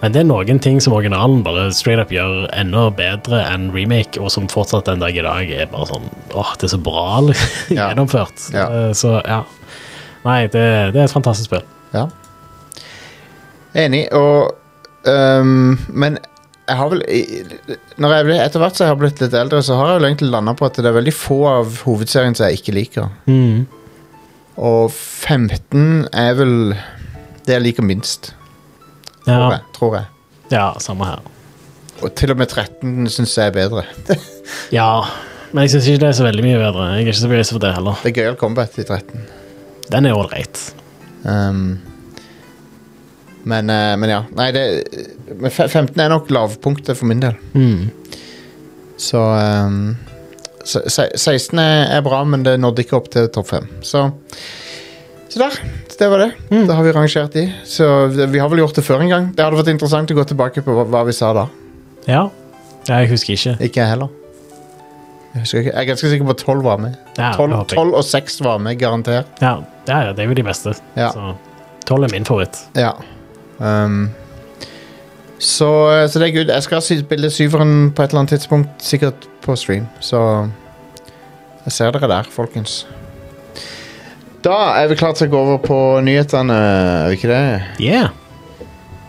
D: men det er noen ting som originalen bare straight up gjør enda bedre enn remake, og som fortsatt den dag i dag er bare sånn åh, det er så bra liksom,
C: Ja.
D: gjennomført.
C: Ja.
D: Eh, Så ja. Nei, det, det er et fantastisk spill.
C: Ja. Enig, og øhm, Men jeg har vel i- Når jeg blir, etter hvert som jeg har blitt litt eldre, så har jeg vel egentlig landa på at det er veldig få av hovedserien som jeg ikke liker.
D: Mm.
C: Og 15 er vel det jeg liker minst, tror,
D: Ja.
C: jeg, tror jeg.
D: Ja, samme her.
C: Og til og med 13 syns jeg er bedre.
D: Ja, men jeg syns ikke det er så veldig mye bedre. Jeg er ikke så begeistret for det heller.
C: Det er gøyal combat i 13.
D: Den er ålreit.
C: Ehm, men, eh, men ja. Nei, det men fe- 15 er nok lavpunktet for min del.
D: Mm.
C: Så ehm, se- se- 16 er, er bra, men det nådde ikke opp til topp 5. Så, så der. Så det var det.
D: Mm.
C: Da har vi rangert de. Så vi har vel gjort det før en gang. Det hadde vært interessant å gå tilbake på hva, hva vi sa da.
D: Ja. ja, jeg husker ikke.
C: Ikke jeg heller. Jeg, husker ikke. jeg er ganske sikker på at 12 var med.
D: Ja,
C: 12,
D: det håper jeg.
C: 12 og 6 var med, garantert.
D: Ja, ja, ja, det er jo de beste.
C: Ja.
D: Så tolv er min favoritt.
C: Ja. Ehm, så, så det er good. Jeg skal sy- spille syveren på et eller annet tidspunkt, sikkert på stream. Så jeg ser dere der, folkens. Da er vi klare til å gå over på nyhetene, er vi ikke det?
D: Yeah.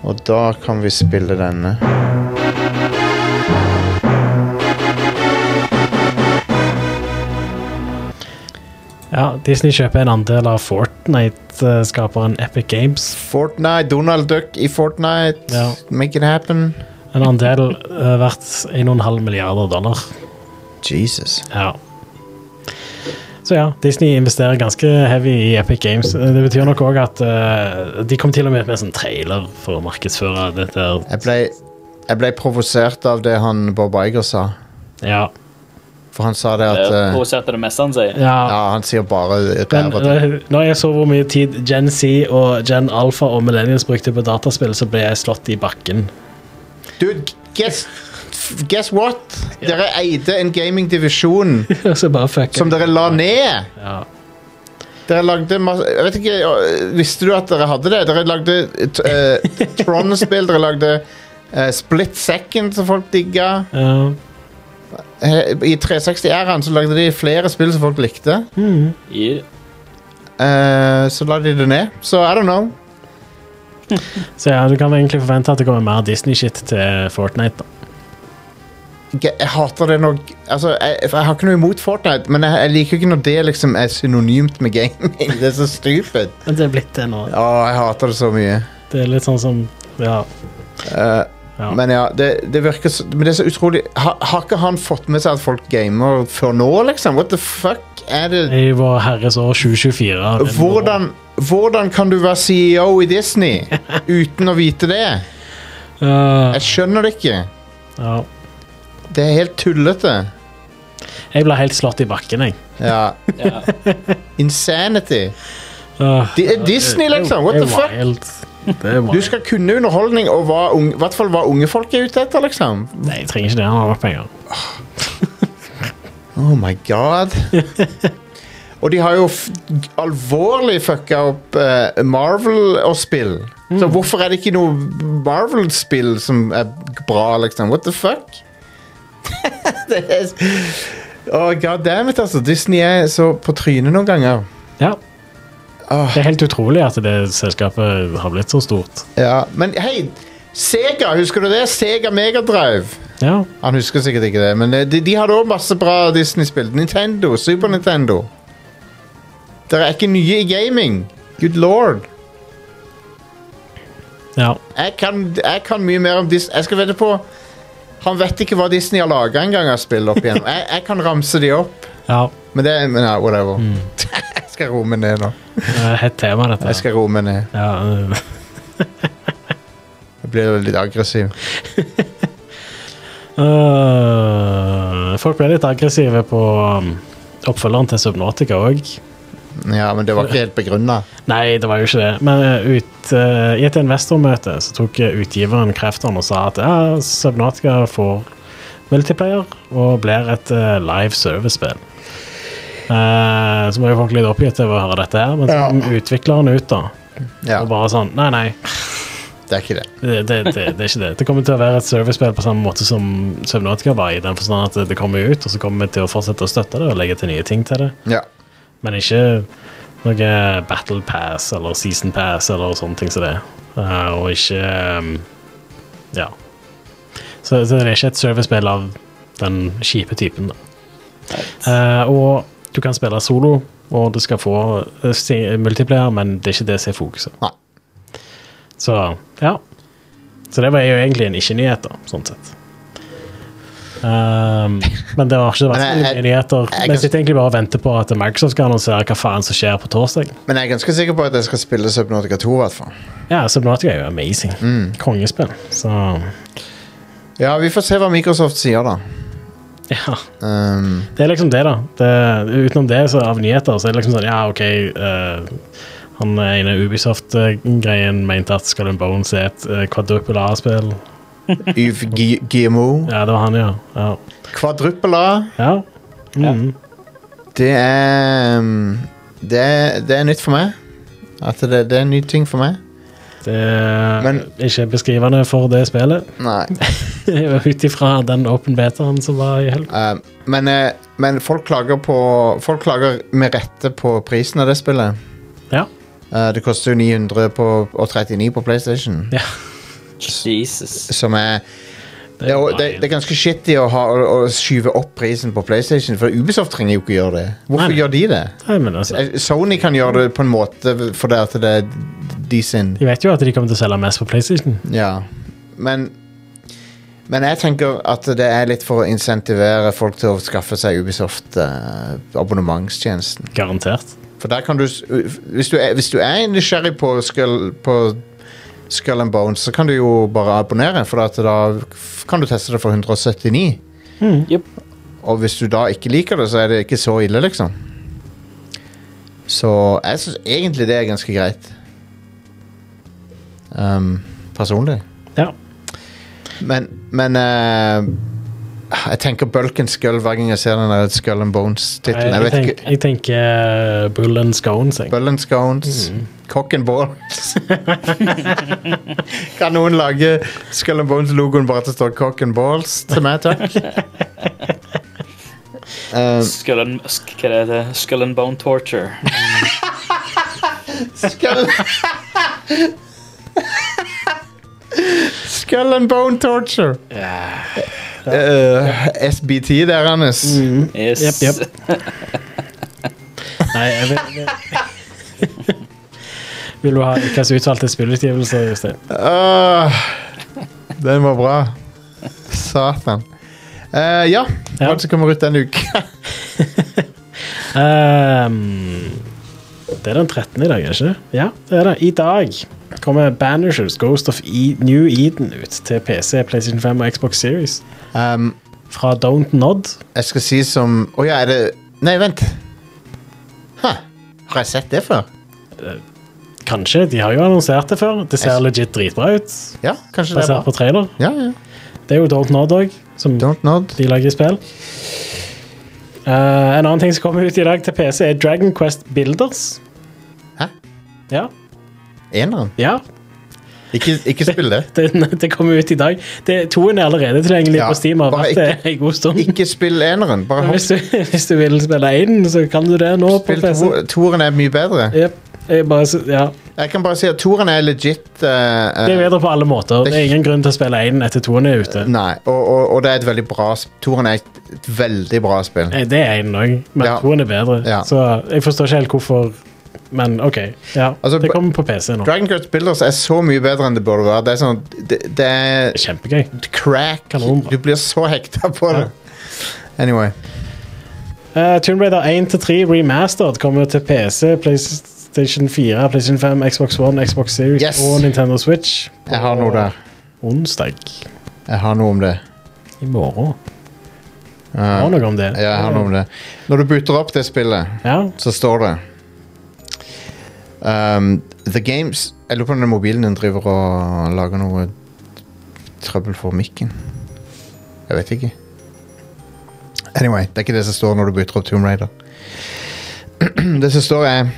C: Og da kan vi spille denne.
D: Ja, Disney kjøper en andel av Fortnite-skaperen Epic Games.
C: Fortnite, Donald Duck i Fortnite.
D: Ja.
C: Make it happen.
D: En andel eh, verdt 1,5 milliarder dollar.
C: Jesus.
D: Ja. Så ja, Disney investerer ganske heavy i Epic Games. Det betyr nok òg at eh, de kom til og med med en sånn trailer for å markedsføre dette. her.
C: Jeg ble, jeg ble provosert av det han Bob Iger sa.
D: Ja.
C: For han sa det at eh,
E: Provoserte det meste han sier.
D: ja.
C: Ja, han sier bare
D: Men
C: ræva.
D: eh, når jeg så hvor mye tid Gen Z og Gen Alpha og Millennials brukte på dataspill, så ble jeg slått i bakken.
C: Dude, guess, guess what? Dere eide en gamingdivisjon
D: så bare fuck
C: som dere la ned.
D: Ja.
C: Dere lagde masse Jeg vet ikke, øh, Visste du at dere hadde det? Dere lagde t- eh, Tron-spill, dere lagde eh, Split Second, som folk digga.
D: Ja.
C: Eh, I 360-æraen så lagde de flere spill som folk likte.
E: I-
C: Eh, så la de det ned. Så I don't know.
D: Så ja, du kan egentlig forvente at det kommer mer Disney-shit til Fortnite. da.
C: Jeg jeg hater det når altså, jeg, jeg har ikke noe imot Fortnite, men jeg, jeg liker ikke når det liksom er synonymt med gaming. Det er så stupid.
D: Men det er blitt det nå.
C: Å, jeg hater det så mye.
D: Det er litt sånn som Ja.
C: Eh,
D: Ja.
C: Men ja, det, det virker så, Men det er så utrolig ha, Har ikke han fått med seg at folk gamer før nå, liksom? What the fuck er det
D: I Vår Herres år 2024. det er nå.
C: Hvordan, hvordan kan du være CEO i Disney uten å vite det?
D: Ja,
C: Jeg skjønner det ikke.
D: ja.
C: Det er helt tullete.
D: Jeg ble helt slått i bakken, jeg.
C: Ja.
E: Ja.
C: Insanity.
D: Åh,
C: Di- Disney, liksom. What
D: det er
C: the fuck?
D: wild. Det er
C: Du
D: wild.
C: skal kunne underholdning og hva unge, hvert fall hva unge folk er ute etter, liksom.
D: Nei, jeg trenger ikke det. Han har nok penger.
C: Oh my god. og de har jo f alvorlig fucka opp eh, Marvel og spill. Så hvorfor er det ikke noe Marvel-spill som er bra, liksom? What the fuck? det er s- Åh, god damn it, altså. Disney er så på trynet noen ganger.
D: Ja.
C: Åh.
D: Det er helt utrolig at det selskapet har blitt så stort.
C: Ja, Men hei, Sega, husker du det? Sega Megadrive.
D: Ja.
C: Han husker sikkert ikke det, men eh, de, de hadde òg masse bra Disney-spill. Nintendo, Super Nintendo. Dere er ikke nye i gaming. Good lord.
D: Ja.
C: Jeg kan, jeg kan mye mer om Disney. Jeg skal vente på Han vet ikke hva Disney har laga engang av spill opp igjennom. Jeg, jeg kan ramse de opp,
D: ja.
C: men det men ja, whatever. jeg skal roe meg ned nå.
D: Det er et Hett tema, dette.
C: Jeg skal roe meg ned.
D: Ja, øh,
C: Jeg blir litt aggressiv.
D: øh, folk ble litt aggressive på um, oppfølgeren til Subnotica òg.
C: Ja, men det var ikke helt begrunna.
D: Nei, det var jo ikke det. Men øh, ut, øh, i et investormøte så tok øh, utgiveren kreftene og sa at ja, Subnotica får multiplayer og blir et øh, live service-spill. Eh, så var jo folk litt oppgitt over å høre dette her, men så kom utvikleren ut, da.
C: Ja,
D: Og bare sånn Nei, nei.
C: det er ikke det.
D: Det, det, det, det er ikke det. Det kommer til å være et servicespill på samme måte som Subnautica var, i den forstand at det kommer ut, og så kommer vi til å fortsette å støtte det og legge til nye ting til det.
C: Ja.
D: Men ikke noe Battle Pass eller Season Pass eller sånne ting som det. Eh, og ikke ehm, Ja. Så, så det er ikke et servicespill av den kjipe typen, da. Eh, og du kan spille solo, og du skal få eh, si- multiplayer, men det er ikke det som er fokuset.
C: Nei.
D: Så ja. Så det var jo egentlig en ikke-nyhet, da, sånn sett. Ehm, men det har ikke vært
C: Men
D: så
C: jeg-
D: mye nyheter.
C: jeg-
D: Vi sitter egentlig bare og venter på at Microsoft skal annonsere hva faen som skjer på torsdag.
C: Men jeg er ganske sikker på at jeg skal spille Subnautica 2, i hvert fall.
D: Ja, Subnatica er jo amazing.
C: Mm.
D: Kongespill. Så
C: Ja, vi får se hva Microsoft sier, da.
D: ja.
C: Um,
D: Det er liksom det, da. Det, utenom det, så av nyheter, så er det liksom sånn Ja, OK. eh, han ene Ubisoft-greien mente at Skull and Bones er et uh, quadruple A-spill.
C: Yves Gu- Guillemot.
D: Ja, det var han, ja. Ja.
C: Kvadruppel A.
D: ja. Mm.
C: Det er um, det, er- det er nytt for meg. At det, det er en ny ting for meg.
D: Det er
C: Men-
D: ikke beskrivende for det spillet.
C: Nei.
D: Ut ifra den open betaen som var i helga.
C: Um, men, eh, men folk klager på Folk klager med rette på prisen av det spillet.
D: Ja.
C: Eh, det koster jo 900 på, og 39 på PlayStation.
D: Ja.
E: Jesus.
C: Som er
D: er
C: det, er- det, det er ganske shitty å, ha, å, å skyve opp prisen på PlayStation, for Ubisoft trenger jo ikke gjøre det. Hvorfor
D: Nei, nei.
C: gjør de det?
D: Nei, men altså,
C: Eh, Sony kan gjøre det på en måte fordi at det er de sin
D: de vet jo at de kommer til å selge mest på PlayStation.
C: Ja. Men men jeg tenker at det er litt for å insentivere folk til å skaffe seg Ubisoft-abonnementstjenesten.
D: Garantert.
C: For der kan du s- Hvis du er, hvis du er nysgjerrig på Skull, på skull and Bones, så kan du jo bare abonnere, for at da f- kan du teste det for 179.
E: Jep.
C: Og hvis du da ikke liker det, så er det ikke så ille, liksom. Så jeg syns egentlig det er ganske greit. Um, personlig.
D: Ja.
C: Men, men eh, Jeg tenker Bulken Skull hver gang jeg ser den der Skull and
D: Jeg,
C: Bones-tittelen. Jeg
D: jeg,
C: vet
D: tenk,
C: ikke
D: jeg tenker uh, Bull and Scones. Jeg.
C: Bull and scones. Cock and balls. kan noen lage Skull and Bones-logoen bare at det står cock and balls til meg, takk? Eh,
E: Skull and, sk hva er det? Skull and bone torture.
C: skull Skull and bone torture. Eh, SBT der, Anders.
E: Yes.
D: Jep, jep. Nei, jeg vet, jeg- Vil du ha ukas utvalgte spillutgivelse, Jostein?
C: Åh, den var bra. Satan. Eh, ja,
D: Ja.
C: hva er det som kommer ut denne uka?
D: Ehm, det er den 13. i dag, er det ikke? Ja, det er det. I dag kommer Banishers Ghost of e New Eden ut til PC, PlayStation 5 og Xbox Series.
C: Um,
D: Fra Don't Nod.
C: Jeg skal si som Å ja, er det Nei, vent. Hæ? Har jeg sett det før?
D: Kanskje, de har jo annonsert det før. Det ser legit dritbra ut,
C: Ja, kanskje det er
D: basert
C: bra.
D: på trailer.
C: Ja, ja.
D: Det er jo Don't Nod òg, som
C: Don't nod.
D: de lager spill. Eh, en annen ting som kommer ut i dag til PC, er Dragon Quest Builders.
C: Hæ?
D: Ja.
C: Eneren.
D: ja.
C: Ikke, ikke spill det.
D: Det, det kommer ut i dag. Det, toen er allerede tilgjengelig
C: Ja,
D: på Steam. Har
C: bare
D: vært det en god stund.
C: Ikke spill eneren. Bare
D: Men
C: hopp.
D: Hvis du, hvis du vil spille én, så kan du det nå på
C: Spill
D: PC.
C: to- toeren er mye bedre.
D: Jep. Jeg bare, s- ja.
C: Jeg kan bare si at toeren er legit. eh, eh,
D: Det er bedre på alle måter. Det er ingen grunn til å spille én etter toen er ute.
C: Nei, og, og, og det er et veldig bra sp- Toeren er et, et veldig bra spill.
D: Eh, Det er én òg, men
C: Ja.
D: toen er bedre.
C: Ja.
D: Så jeg forstår ikke helt hvorfor Men OK. Ja,
C: Altså,
D: det kommer på PC nå.
C: Dragon Quest Builders er så mye bedre enn det burde være. Det er sånn Det, det er
D: Kjempegøy.
C: crack.
D: Kanonbra.
C: Du blir så hekta på det. Anyway.
D: Eh, Tomb Raider 1-3 Remastered kommer til PC, PlayStation 4, PlayStation 5, Xbox One, Xbox Series
C: Yes.
D: og Nintendo Switch. på
C: Jeg har noe der.
D: Onsdag.
C: Jeg har noe om det.
D: I morgen. Har noe om det.
C: Ja, jeg har noe om det. Når du booter opp det spillet,
D: Ja.
C: så står det um, The Games Jeg lurer på om den mobilen din driver og lager noe trøbbel for mikken. Jeg vet ikke. Anyway, det er ikke det som står når du bytter opp Tomb Raider. det som står er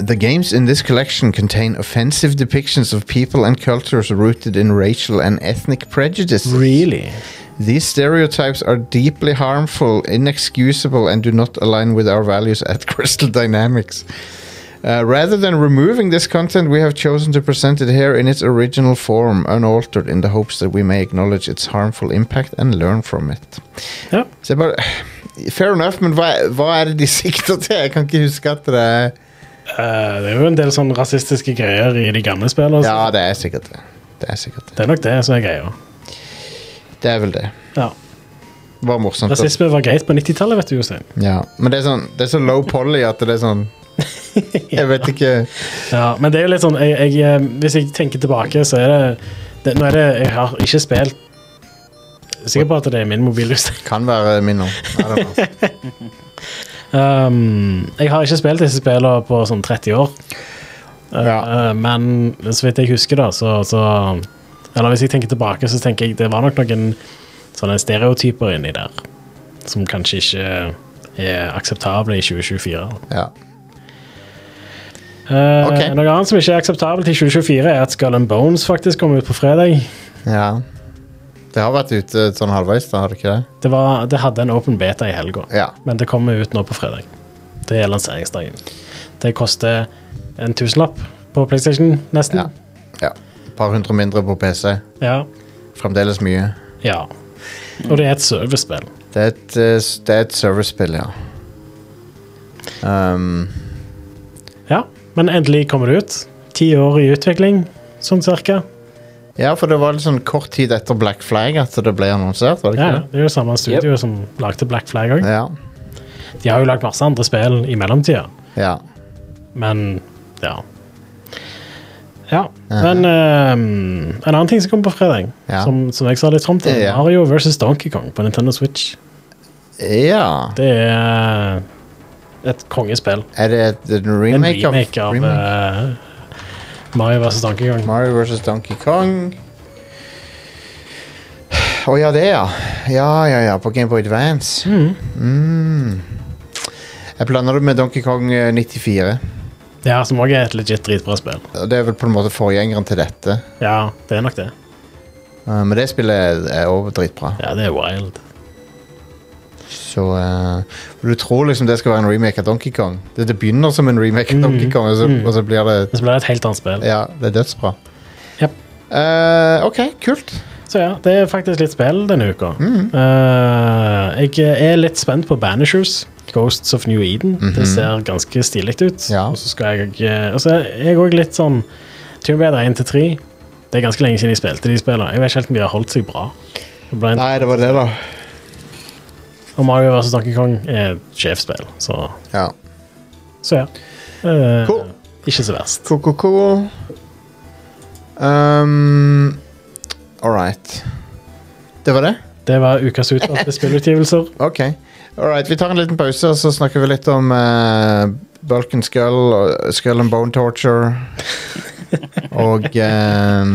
C: The games in this collection contain offensive depictions of people and cultures rooted in racial and ethnic prejudice.
D: Really?
C: These stereotypes are deeply harmful, inexcusable, and do not align with our values at Crystal Dynamics. Uh, rather than removing this content, we have chosen to present it here in its original form, unaltered, in the hopes that we may acknowledge its harmful impact and learn from it.
D: Ja.
C: Så jeg bare, fair enough, men hva, hva er det de sikter til? Jeg kan ikke huske at det er
D: Eh, det er jo en del sånn rasistiske greier i de gamle spillene. så
C: Ja, det er sikkert det. Det er sikkert det.
D: Det er nok det som er greia.
C: Det er vel det.
D: Ja.
C: Det var morsomt. at-
D: Rasisme var greit på 90-tallet, vet du, Jostein.
C: Ja. Men det er, sånn, det er så low poly at det er sånn Jeg vet ikke
D: Ja, men det er jo litt sånn jeg, jeg, eh, Hvis jeg tenker tilbake, så er det, det Nå er det Jeg har ikke spilt Sikker på at det er min mobil. Jostein.
C: Kan være min nå. I don't know.
D: Um, jeg har ikke spilt disse spillene på sånn 30 år. Uh,
C: Ja.
D: uh, men så vidt jeg husker, da, så, så Eller hvis jeg tenker tilbake, så tenker jeg det var nok noen sånne stereotyper inni der som kanskje ikke er akseptable i 2024.
C: Ja.
D: Uh,
C: Ok.
D: Noe annet som ikke er akseptabelt i 2024, er at Skull and Bones faktisk kom ut på fredag.
C: ja. Det har vært ute sånn halvveis, da, har det ikke det?
D: Det, var, det hadde en open beta i helga,
C: Ja.
D: men det kommer ut nå på fredag. Det er lanseringsdagen. Det koster en tusenlapp på PlayStation,
C: Ja.
D: nesten.
C: ja. Et par hundre mindre på PC.
D: Ja.
C: Fremdeles mye.
D: ja. Og det er et servicespill.
C: Det er et, eh, s- det er et servicespill, ja. Um,
D: Ja, men endelig kommer det ut. Ti år i utvikling, sånn cirka.
C: ja, for det var litt sånn kort tid etter Black Flag at det ble annonsert, var det
D: Ja,
C: ikke
D: det er jo samme studio som lagde Black Flag òg.
C: det? Ja.
D: De har jo lagd masse andre spill i mellomtida,
C: ja.
D: men ja. Ja, men ehm, En annen ting som kommer på fredag,
C: Ja.
D: som, som jeg sa litt fram til,
C: Ja.
D: Mario versus Donkey Kong på Nintendo Switch.
C: Ja.
D: Det er et kongespill.
C: Er det et- en
D: En
C: remake,
D: remake av
C: remake?
D: eh, Mario vs. Donkey Kong.
C: Mario versus Donkey Kong? Å ja, det, ja. Ja, ja, ja. På Gameboy Advance. Mm. Jeg blander det med Donkey Kong eh, 94.
D: Ja, Som òg er et legit dritbra spill.
C: Og Det er vel på en måte forgjengeren til dette.
D: Ja, det er nok det.
C: Eh, Men det spillet er òg dritbra.
D: Ja, det er wild.
C: Så eh, Du tror liksom det skal være en remake av Donkey Kong. Det, det begynner som en remake av Donkey Kong, og så, og så blir det
D: Men så blir det et helt annet spill.
C: Ja, det er dødsbra.
D: Japp.
C: Eh, OK, kult.
D: Så ja, det er faktisk litt spill denne uka. Eh, jeg er litt spent på Banishers. Ghosts of New Eden. Det ser ganske stilig ut.
C: Ja.
D: Og så skal jeg eh, Og så er jeg òg litt sånn Tomb Raider 1 til 3. Det er ganske lenge siden jeg spilte de spillene. Jeg vet ikke helt om de har holdt seg bra. Det ble en
C: Nei, det var det, da.
D: Og Mario vs. Donkey Kong er et sjefsspill, så,
C: Ja.
D: så ja. Eh,
C: Cool.
D: Ikke så verst.
C: Cool, cool, cool. Um, all right. Det var det?
D: Det var ukas utvalgte spillutgivelser.
C: Ok. All right, vi tar en liten pause, og så snakker vi litt om eh, Bulk and Skull og Skull and Bone Torture. og um,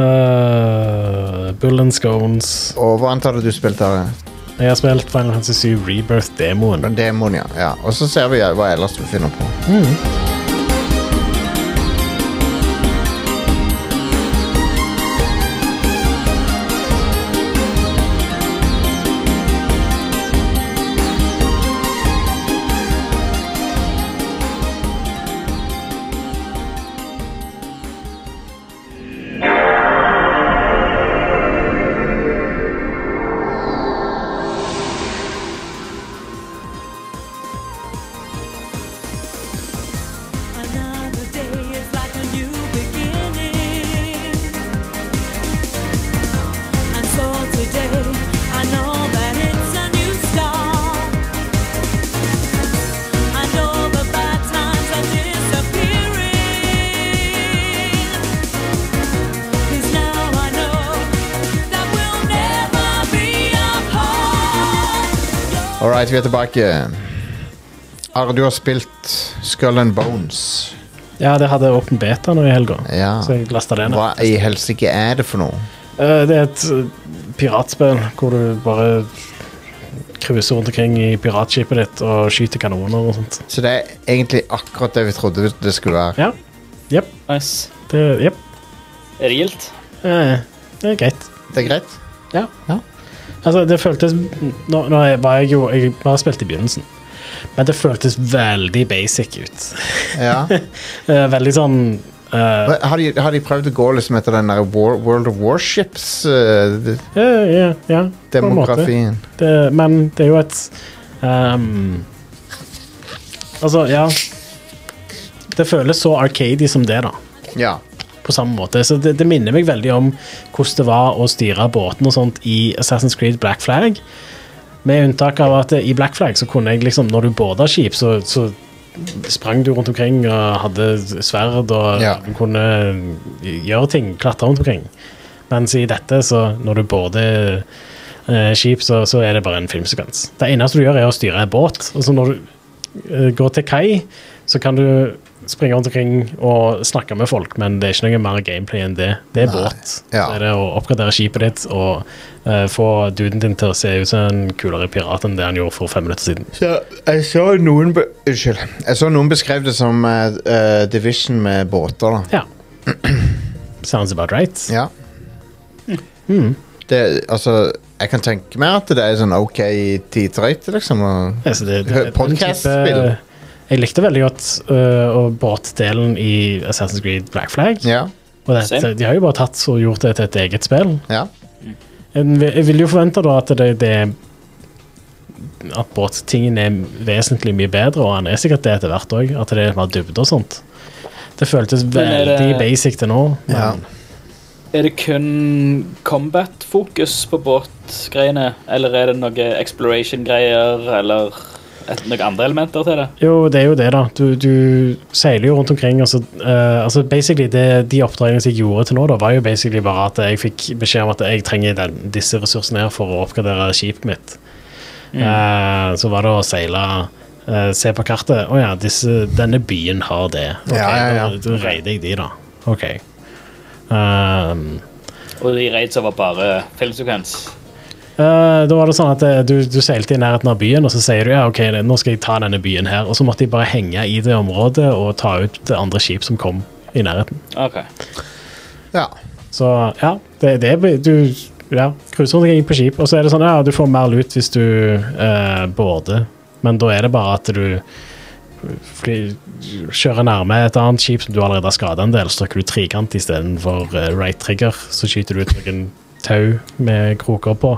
D: Eh, Bull and Scones.
C: Og hva antar du du spilte av?
D: Jeg har spilt Final Fantasy 7 Rebirth-demoen.
C: Demon, ja. ja. Og så ser vi hva ellers vi finner på. All right, vi er tilbake. Are, du har spilt Skull and Bones.
D: Ja, det hadde åpen beta nå i helga,
C: Ja.
D: så jeg lasta det ned.
C: Hva i helsike er det for noe?
D: Eh, Det er et eh, piratspill hvor du bare cruiser rundt omkring i piratskipet ditt og skyter kanoner og sånt.
C: Så det er egentlig akkurat det vi trodde det skulle være.
D: Ja. Jepp.
E: Nice.
D: Det, jepp.
E: Er det gildt?
D: Eh, det er greit.
C: Det er greit?
D: Ja.
C: Ja.
D: Altså, det føltes Nå, nå er- var jeg jo Jeg bare spilte i begynnelsen, men det føltes veldig basic ut.
C: Ja.
D: Eh, Veldig sånn eh,
C: Hva- Har de, har de prøvd å gå liksom etter den der War, World of eh, Warships-demografien?
D: Ja, ja, ja. på en måte. Det, men det er jo et ehm, Altså, ja Det føles så arcady som det, da.
C: ja.
D: På samme måte. Så det, det minner meg veldig om hvordan det var å styre båten og sånt i Assassin's Creed Black Flag. Med unntak av at eh, i Black Flag så kunne jeg liksom, når du båda skip, så, så sprang du rundt omkring og hadde sverd og
C: Ja.
D: du kunne gjøre ting, klatre rundt omkring. Mens i dette, så når du båder eh, skip, så, så er det bare en filmsekvens. Det eneste du gjør, er å styre en båt. Og så når du eh, går til kai, så kan du springe rundt omkring og snakke med folk, men det er ikke noe mer gameplay enn det. Det er
C: Nei.
D: båt.
C: Ja.
D: Så er det å oppgradere skipet ditt og eh, få duden din til å se ut som en kulere pirat enn det han gjorde for fem minutter siden.
C: Så jeg så noen be Unnskyld. Jeg så noen beskrev det som eh, eh, Division med båter, da.
D: Ja. Sounds about right.
C: Ja. Det, altså, jeg kan tenke meg at det er sånn OK tidrøyte, liksom. Og,
D: Altså, det, det, den
C: Podcast-spill.
D: type- Jeg likte veldig godt øh, og båtdelen i Assassin's Creed Black Flag.
C: ja.
D: Og dette,
E: Same.
D: de har jo bare tatt og gjort det til et eget spill.
C: Ja.
D: En vil- Jeg vil jo forvente da at det, det At båttingen er vesentlig mye bedre, og han er sikkert det etter hvert òg. At det er mer dybde og sånt. Det føltes
E: Men er det-
D: veldig basic til nå. Men,
C: Ja.
E: Er det kun combat-fokus på båtgreiene, eller er det noe exploration-greier, eller et, noen andre elementer til det?
D: Jo, det er jo det, da. Du, du seiler jo rundt omkring. Og så, eh, altså basically det, De oppdragene som jeg gjorde til nå, da, var jo basically bare at jeg fikk beskjed om at jeg trenger den, disse ressursene her for å oppgradere skipet mitt.
C: Mm.
D: Eh, så var det å seile eh, Se på kartet. Å ja, disse, denne byen har det. Ok,
C: Ja, ja, ja.
D: Da, da reider jeg de, da. OK. Ehm,
E: Og de raids var bare filmsekvens.
D: Eh, da var det sånn at eh, du, du seilte i nærheten av byen, og så sier du ja, ok, nå skal jeg ta denne byen her. Og så måtte de bare henge i det området og ta ut det andre skip som kom i nærheten.
E: Ok.
C: ja.
D: Så ja, det, det er du ja, cruiser rundt omkring på skip, og så er det sånn ja, du får mer lut hvis du eh, border, men da er det bare at du fly, kjører nærme et annet skip som du allerede har skada en del, så trykker du trekant istedenfor uh, right trigger, så skyter du ut noen tau med kroker på,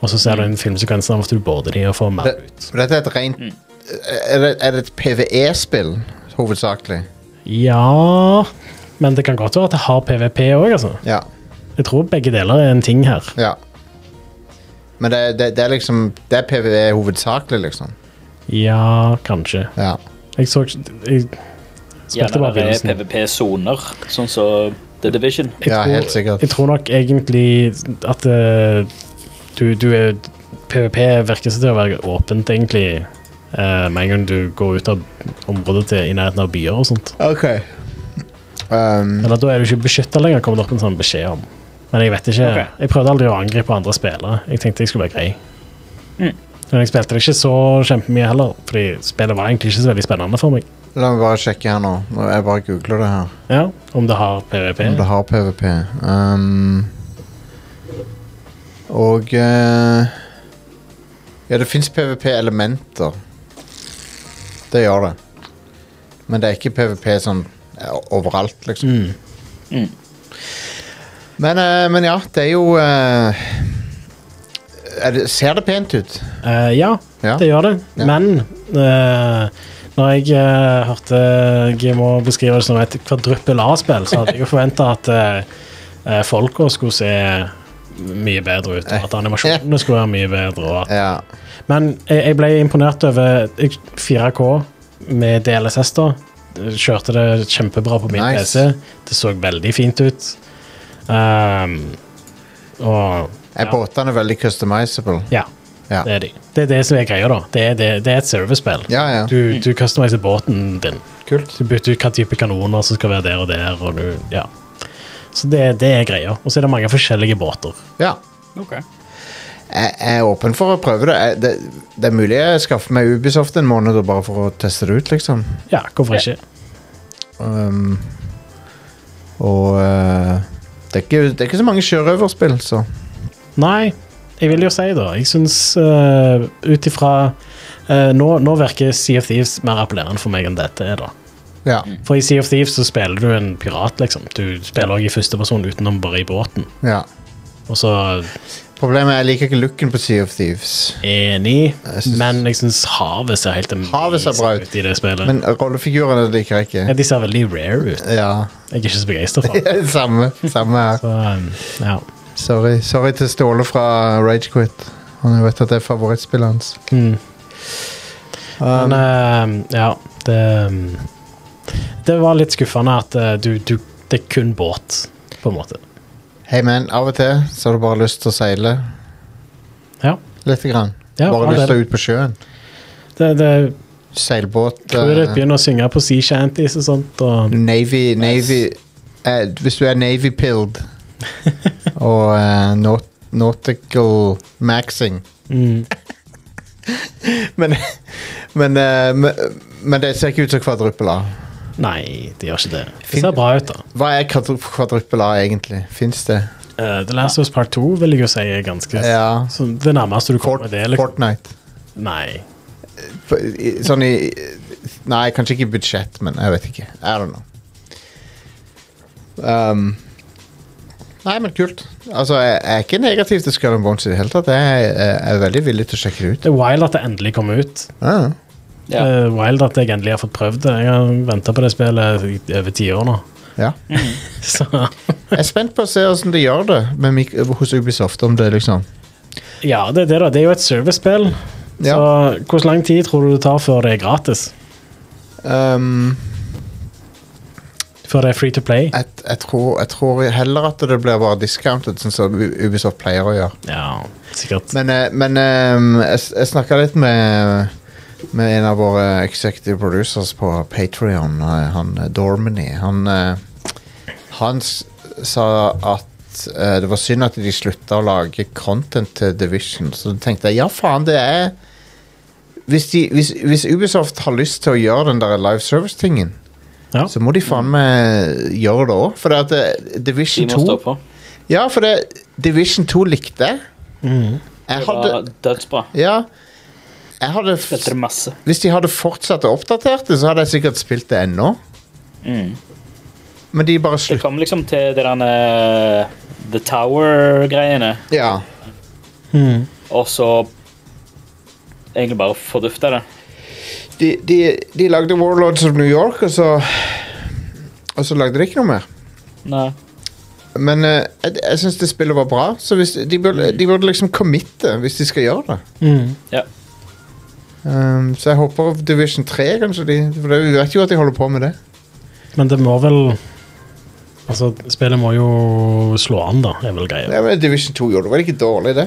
D: og så ser du en filmsekvens av at du border de og får mer
C: Det,
D: lut.
C: dette er et rent er, det, er det et PVE-spill, hovedsakelig?
D: Ja men det kan godt være at det har PVP òg, altså.
C: Ja.
D: Jeg tror begge deler er en ting her.
C: ja. Men det, det, det er liksom Det er PVE hovedsakelig, liksom.
D: Ja, kanskje.
C: Ja.
D: Jeg så ikke jeg Spilte
E: Gjerne
D: bare
E: være
D: begynnelsen.
E: PVP-soner, sånn som The Division.
D: Jeg
C: Ja,
D: tror-
C: helt sikkert.
D: Jeg tror nok egentlig at eh, du, du er PVP virker seg til å være åpent, egentlig. eh, med en gang du går ut av området til i nærheten av byer og sånt.
C: OK. Um,
D: Eller da er du ikke beskytta lenger, kommer det opp en sånn beskjed om. Men jeg vet ikke.
E: Ok.
D: Jeg prøvde aldri å angripe andre spillere. Jeg tenkte jeg skulle være grei.
E: Mm.
D: Men jeg spilte det ikke så kjempemye heller, fordi spillet var egentlig ikke så veldig spennende for meg.
C: La meg bare sjekke her nå. Nå- Jeg bare googler det her.
D: Ja, Om det har PVP.
C: Om det har PVP. Um, og eh, Ja, det fins PVP-elementer. Det gjør det. Men det er ikke PVP sånn eh, overalt, liksom. Men, eh, men ja, det er jo eh, er det, Ser det pent ut?
D: Eh, ja,
C: Ja.
D: det gjør det.
C: Ja.
D: Men eh, når jeg eh, hørte GMO beskrive det som et kvadruppel A-spill, så hadde jeg jo forventa at uh, folka skulle se mye bedre ut, og at animasjonene skulle være mye bedre. Og at,
C: Ja.
D: men jeg, jeg ble imponert over jeg- 4K med DLSS, da. Kjørte det kjempebra på min
C: Nice.
D: PC. Det så veldig fint ut. Um, og
C: Er båtene veldig customizable?
D: ja.
C: Ja.
D: Det er de. Det er det som er greia, da. Det er, det, det er et servicespill.
C: Ja, ja.
D: Du, du customiser båten din.
C: Kult.
D: Du bytter ut hva type kanoner som skal være der og der. Og du, ja. Så det, det er greia. Og så er det mange forskjellige båter.
C: Ja.
A: Ok.
C: Jeg jeg er åpen for å prøve det. Jeg, det. Det er mulig jeg skaffer meg Ubisoft en måned og bare for å teste det ut, liksom.
D: Ja, hvorfor ikke?
C: Um, og eh, det, er ikke, det er ikke så mange sjørøverspill, så
D: Nei, jeg vil jo si da Jeg syns uh, ut ifra eh, nå, nå virker Sea of Thieves mer appellerende for meg enn dette er, da.
C: ja.
D: For i Sea of Thieves så spiller du en pirat, liksom. Du spiller òg i førsteperson utenom bare i båten.
C: ja.
D: Og så
C: Problemet er jeg liker ikke looken på Sea of Thieves.
D: enig,
C: synes-
D: men jeg syns havet ser helt
C: Havet ser bra ut.
D: amazing ut i det spillet.
C: Men rollefigurene liker jeg
D: ja,
C: ikke.
D: de ser veldig rare ut.
C: Ja.
D: Jeg er ikke så begeistra for det.
C: samme, samme her.
D: Så, um, ja.
C: Sorry. Sorry til Ståle fra Ragequit. Han vet at det er favorittspillet hans.
D: Mm.
C: Um,
D: Men eh, ja, det um, Det var litt skuffende at eh, du, du Det er kun båt, på en måte.
C: Hei, men av og til så har du bare lyst til å seile
D: Ja.
C: lite grann.
D: Ja,
C: bare
D: ja,
C: lyst
D: det-
C: til å ut på sjøen.
D: Det, det,
C: Seilbåt.
D: crewet ditt
C: eh,
D: begynner å synge på sea shanties og sånt.
C: Mm.
D: Og,
C: Navy, Navy eh, Hvis du er Navy-pilled og eh, naut nautical maxing
D: mm,
C: Men, men, eh, men, men det ser ikke ut som kvadruppel A.
D: nei, det gjør ikke det.
C: Fin-
D: Det ser bra ut, da.
C: Hva er kvadru- kvadruppel A egentlig? Fins det?
D: Eh, The Last of Us Part 2 vil jeg jo si er ganske
C: Ja.
D: så Det nærmeste du
C: Fort,
D: kommer det. Liksom.
C: Fortnite.
D: Nei.
C: På- i- Sånn i Nei, kanskje ikke i budsjett, men jeg vet ikke. I don't know. Um, nei, men kult. Altså, jeg, jeg er ikke negativ til Skull and Bones i det hele tatt. Jeg, jeg er veldig villig til å sjekke det ut.
D: Det er wild at det endelig kommer ut.
C: Ah.
E: Ja.
D: Eh, wild at jeg endelig har fått prøvd det. Jeg har venta på det spillet i over ti år nå.
C: Ja.
D: Så
C: Jeg er spent på å se hvordan de gjør det med mik hos Ubisoft. Om det liksom
D: ja, det er det, da. Det er jo et servicespill.
C: Ja.
D: Så hvor lang tid tror du det tar før det er gratis?
C: um,
D: Før det er free to play?
C: jeg, jeg, tror, jeg tror heller at det blir bare discounted, sånn som U- Ubisoft pleier å gjøre.
D: Ja, sikkert.
C: Men, eh, men eh, jeg, s- jeg snakka litt med, med en av våre executive producers på Patrion, han eh, Dormany. Han, eh, han s- sa at eh, det var synd at de slutta å lage content til Division. Så tenkte jeg ja, faen, det er hvis, de, hvis, hvis Ubisoft har lyst til å gjøre den der live service-tingen,
D: Ja.
C: så må de faen meg gjøre det òg. For det at eh,
E: De
C: Division
E: må stå
C: 2
E: på.
C: Ja, for det, Division 2 likte jeg. Jeg
E: Det
C: hadde
E: var dødsbra.
C: Ja. Jeg hadde f-
E: Spilte det masse.
C: Hvis de hadde fortsatt å oppdatere det, så hadde jeg sikkert spilt det ennå. Men de bare
E: Mm. Det
C: slutt...
E: kom liksom til det der eh, The Tower-greiene,
C: Ja.
D: Mm,
E: og så egentlig bare fordufta det.
C: de, de, de lagde Warlords of New York, og så Og så lagde de ikke noe mer.
E: Nei.
C: Men eh, jeg, jeg syns det spillet var bra, så hvis, de, burde, de burde liksom committe hvis de skal gjøre det.
D: mm.
E: Ja.
C: Um, så jeg håper Division 3, kanskje. De, for det- vi vet jo at de holder på med det.
D: Men det må vel Altså, spillet må jo slå an, da, er vel greia.
C: Ja, men Division 2 gjorde det vel ikke dårlig, det?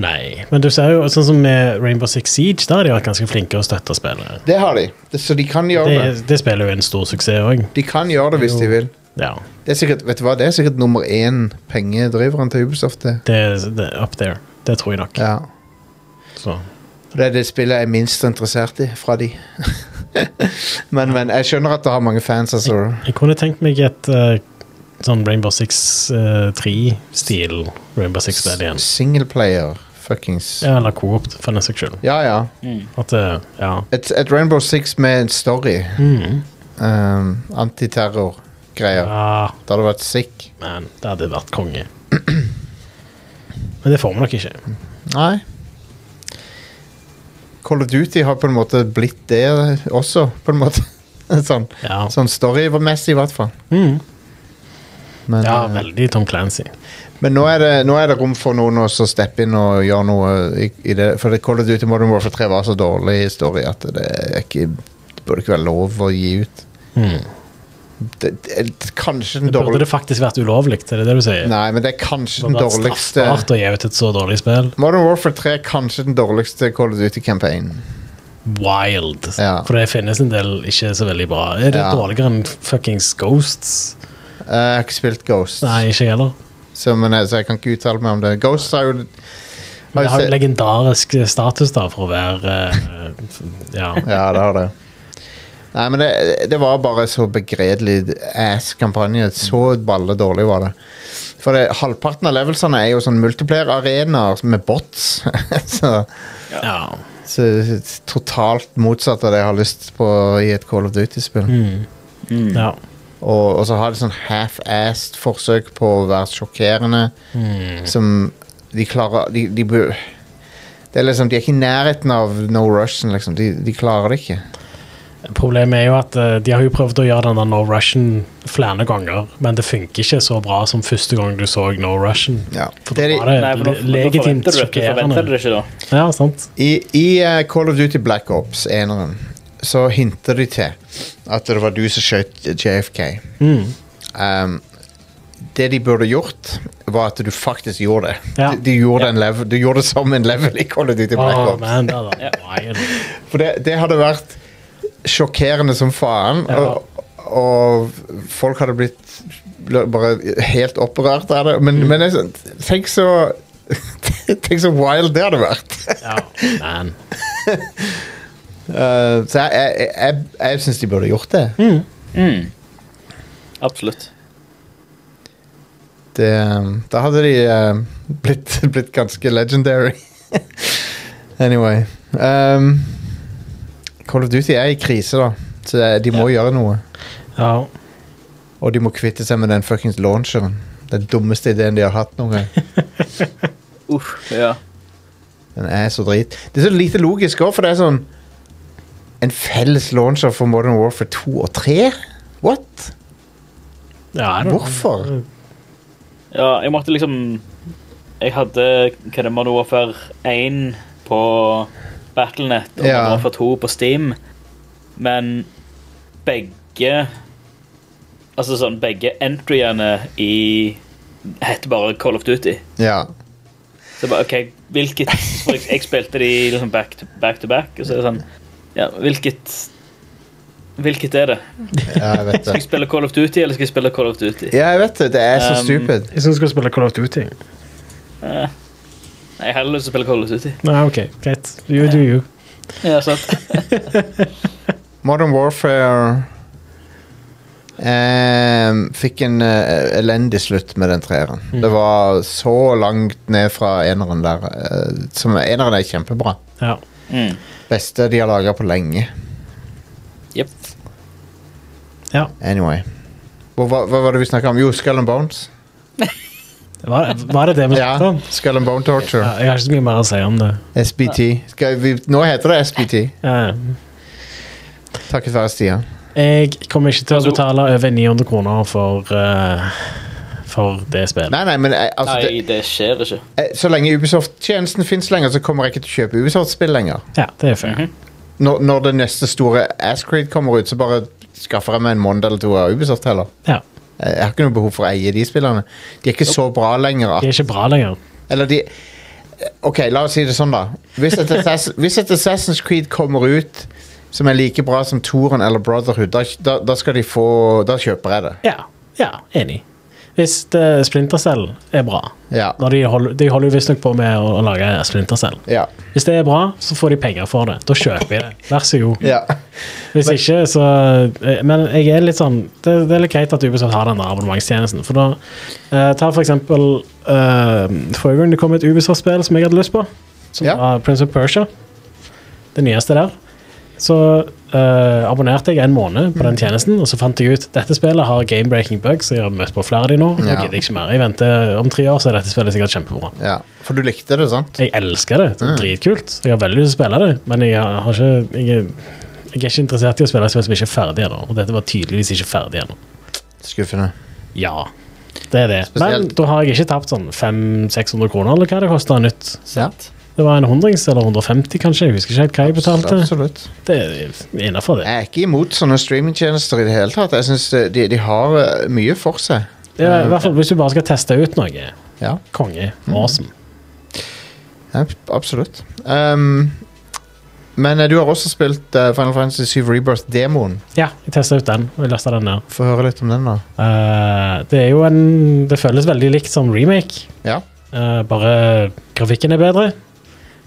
D: Nei, men du ser jo sånn som med Rainbow Six Siege, der har de vært ganske flinke å støtte spillet.
C: Det har de. Det, så de kan gjøre
D: Det,
C: det.
D: det spiller jo en stor suksess òg.
C: De kan gjøre det hvis de vil.
D: Ja,
C: Det er sikkert, vet du hva, det er sikkert nummer én pengedriveren til Ubisoft. Det.
D: det, det er up there. Det tror jeg nok.
C: Ja.
D: Så.
C: Det er det spillet jeg er minst interessert i fra de. men, men jeg skjønner at det har mange fans, altså.
D: Jeg kunne tenkt meg et eh, sånn Rainbow Six 3-stil Rainbow Six-spill igjen.
C: Singleplayer, fuckings.
D: Ja, eller Coop, for den saks skyld.
C: Ja, ja.
D: At det Ja.
C: Et, et Rainbow Six med en story. Um, Antiterror-greier.
D: Mm. ja.
C: Det hadde vært sick.
D: Men Ah, det hadde vært konge. Men det får vi nok ikke.
C: Nei. Call of Duty har på en måte blitt det også, på en måte. sånn
D: Ja, Mm.
C: sånn storymessig, i hvert fall. Men,
D: ja
C: eh,
D: veldig Tom Clancy.
C: Men nå er, det, nå er det rom for noen å så steppe inn og gjøre noe i, i det. For det Call of Duty Modern Warfare 3 var så dårlig story at det, er ikke, det burde ikke være lov å gi ut. det, det, Kanskje den
D: Burde
C: dårligste
D: Mm. det faktisk vært ulovlig? Er det det du sier?
C: Nei, men det er kanskje den
D: Burde vært
C: dårligste
D: straffbart å gi ut et så dårlig spill?
C: Modern Warfare 3 er kanskje den dårligste Call of Duty-campaignen.
D: Wild.
C: Ja.
D: For det finnes en del ikke så veldig bra. Er det
C: Ja.
D: dårligere enn fuckings Ghosts?
C: Eh, Jeg har ikke spilt Ghost,
D: Nei, ikke jeg heller.
C: så, men, jeg- så jeg kan ikke uttale meg om det. Ghost har jo
D: Men det har jo
C: sett-
D: legendarisk eh, status da, for å være eh, f- Ja.
C: Ja, det har det. Nei, men det, det var bare så begredelig ass-kampanje. Så balle dårlig var det. For det, halvparten av levelsene er jo sånn multiplayer-arenaer med bots. så,
D: ja.
C: så totalt motsatt av det jeg har lyst på i et Call of Duty-spill.
D: Mm.
E: Mm.
D: ja.
C: Og, og så har de sånn half-assed forsøk på å være sjokkerende.
D: Hmm.
C: Som de klarer de, de, bør- det er liksom, de er ikke i nærheten av No Russian, liksom. De, de klarer det ikke.
D: Problemet er jo at eh, de har jo prøvd å gjøre den der No Russian flere ganger, men det funker ikke så bra som første gang du så No Russian. For
C: Det er
D: da
C: de,
D: var det
E: Nei, for nå- nå
D: Eh, legitimt
E: forventer du det, du forventer
D: sjokkerende.
E: det ikke, da.
D: Ja, sant.
C: I, i eh, Call of Duty Black Ops, eneren, så hinter de til at det var du som skjøt JFK.
D: Hmm.
C: Um, det de burde gjort, var at du faktisk gjorde det.
D: Ja.
C: Du, du, gjorde en level, du gjorde det som en level i Call of Duty Black
D: Åh,
C: Ops.
D: man, det er da wild.
C: For det, det hadde vært sjokkerende som faen. Og, og folk hadde blitt ble bare helt opprørt av det. Men, men jeg, tenk så Tenk så wild det hadde vært.
D: Ja, man.
C: Eh, så jeg, jeg, jeg, jeg syns de burde gjort det.
E: Absolutt.
C: det um, da hadde de eh, blitt, blitt ganske legendary. anyway um, Call of Duty er i krise, da. Så det- de må gjøre noe.
D: Ja.
C: Og de må kvitte seg med den fuckings launcheren. Den dummeste ideen de har hatt noen gang.
E: Uff, ja.
C: Den er så drit. Det er så lite logisk òg, for det er sånn En felles launcher for Modern Warfare 2 og 3? What?
D: ja I don't know.
C: Hvorfor?
E: Ja, jeg måtte liksom Jeg hadde hva er det Modern Warfare 1 på Battlenet og
C: Ja.
E: Modern Warfare 2 på Steam, men begge Altså sånn, begge entryene i heter bare Call of Duty.
C: Ja.
E: Så jeg bare, ok, hvilket for jeg, jeg spilte de liksom back to, back to back, og så er det sånn Ja, hvilket Hvilket er det?
C: ja, jeg vet
E: Skal jeg
C: det.
E: spille Call of Duty, eller skal jeg spille Call of Duty?
C: Ja, jeg vet det. Det er så
E: Um,
C: stupid.
D: Jeg syns du skal spille Call of Duty.
E: Nei, Jeg har heller lyst til å spille Call of Duty.
D: Nei, OK, greit. You do you.
E: Ja, sant.
C: Modern Warfare ehm, fikk en eh, elendig slutt med den treeren. Det var så langt ned fra eneren der. eh, som eneren er kjempebra.
D: Ja.
E: Mm.
C: Beste de har laga på lenge.
E: Jep.
D: ja.
C: Anyway. Hva, hva, hva var det vi snakka om? Jo, Skull and Bones.
D: Var, var det det vi snakket
C: Ja,
D: om?
C: Skull and Bone
D: Ja,
C: Torture.
D: jeg har ikke så mye mer å si om det.
C: SBT. Skal vi, nå heter det SBT,
D: Ja.
C: takket være Stian.
D: Jeg kommer ikke til å
E: Altså-
D: betale over 900 kroner for, eh, for det spillet.
C: Nei, nei, men eh, altså,
E: Nei,
C: det,
E: det skjer ikke.
C: eh, så lenge Ubisoft-tjenesten fins lenger, så kommer jeg ikke til å kjøpe Ubisoft-spill lenger.
D: Ja, det er fair.
C: Mhm. når, når det neste store Ascreed kommer ut, så bare skaffer jeg meg en måned eller to av Ubisoft heller. Eh,
D: Ja,
C: Jeg jeg har ikke noe behov for å eie de spillerne. De er ikke så bra lenger.
D: Det
C: At,
D: er ikke bra lenger.
C: eller de Ok, la oss si det sånn, da. Hvis et, Assass- hvis et Assassin's Creed kommer ut som er like bra som Toren eller Brotherhood, da, da, da skal de få Da kjøper jeg det.
D: Ja, ja enig. Hvis det Splintercell er bra
C: Ja.
D: når De holder, de holder jo visstnok på med å, å lage Splintercell.
C: Ja.
D: Hvis det er bra, så får de penger for det. Da kjøper jeg det. Vær så god.
C: ja.
D: Hvis ikke, så eh, Men jeg er litt sånn Det, det er litt greit at Ubisoft har den der abonnementstjenesten. For da eh, Ta for eksempel eh, Forrige gang det kom et Ubisoft-spill som jeg hadde lyst på, som
C: Ja.
D: var Prince of Persia. Det nyeste der. Så eh, abonnerte jeg en måned
C: Mm.
D: på den tjenesten, og så fant jeg ut dette spillet har game-breaking bugs. Jeg har møtt på flere av de nå. Nå
C: Ja.
D: gidder jeg ikke mer. Jeg venter om tre år, så er dette spillet sikkert kjempebra.
C: ja. For du likte det, sant?
D: Jeg elsker
C: Mm.
D: det. Det er dritkult. Jeg har veldig lyst til å spille det, men jeg har ikke jeg, er- jeg er ikke interessert i å spille et spill som ikke er ferdig ennå. Og dette var tydeligvis ikke ferdig ennå.
C: Skuffende.
D: Ja, det er det. Men
C: Spesielt-
D: da har jeg ikke tapt sånn 500-600 kroner, eller hva det koster nytt.
C: Ja.
D: Det var en hundrings eller 150, kanskje. Jeg husker ikke helt hva jeg betalte.
C: Absolutt.
D: Det er innafor, det.
C: Jeg er ikke imot sånne streamingtjenester i det hele tatt. Jeg synes de, de har eh, mye for seg.
D: det er, I hvert fall hvis du bare skal teste ut noe.
C: Ja, Mm.
D: Konge. Awesome.
C: ja absolutt. Ehm, men eh, du har også spilt eh, Final Fantasy 7 Rebirth-demoen.
D: Ja, jeg testa ut den. og Jeg lasta den ned.
C: Få høre litt om den, da.
D: Eh, det er jo en Det føles veldig likt som remake.
C: Ja.
D: Eh, bare grafikken er bedre.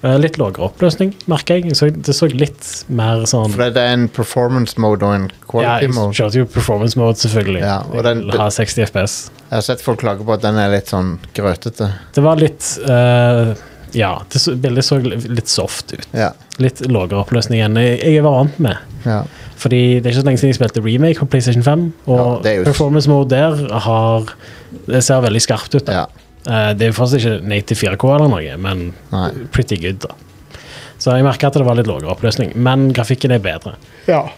D: Eh, litt lavere oppløsning, merker jeg. jeg så, det så litt mer sånn
C: For det er en performance mode og en
D: Ja,
C: quality
D: jeg
C: mode.
D: kjørte jo performance mode, selvfølgelig.
C: Ja, og den-
D: jeg vil ha 60 FPS.
C: Jeg har sett folk klage på at den er litt sånn grøtete.
D: Det var litt eh, Ja, det så, bildet så litt soft ut.
C: Ja.
D: Litt lavere oppløsning enn jeg, jeg var vant med.
C: ja.
D: Fordi det er ikke så lenge siden jeg spilte remake på PlayStation 5,
C: Ja,
D: og
C: det er jo-
D: performance mode der har Det ser veldig skarpt ut. da.
C: ja.
D: Eh, det er jo fortsatt ikke Nate til 4K eller noe, men
C: Nei.
D: pretty good, da. Så jeg merka at det var litt lavere oppløsning, men grafikken er bedre. Eh,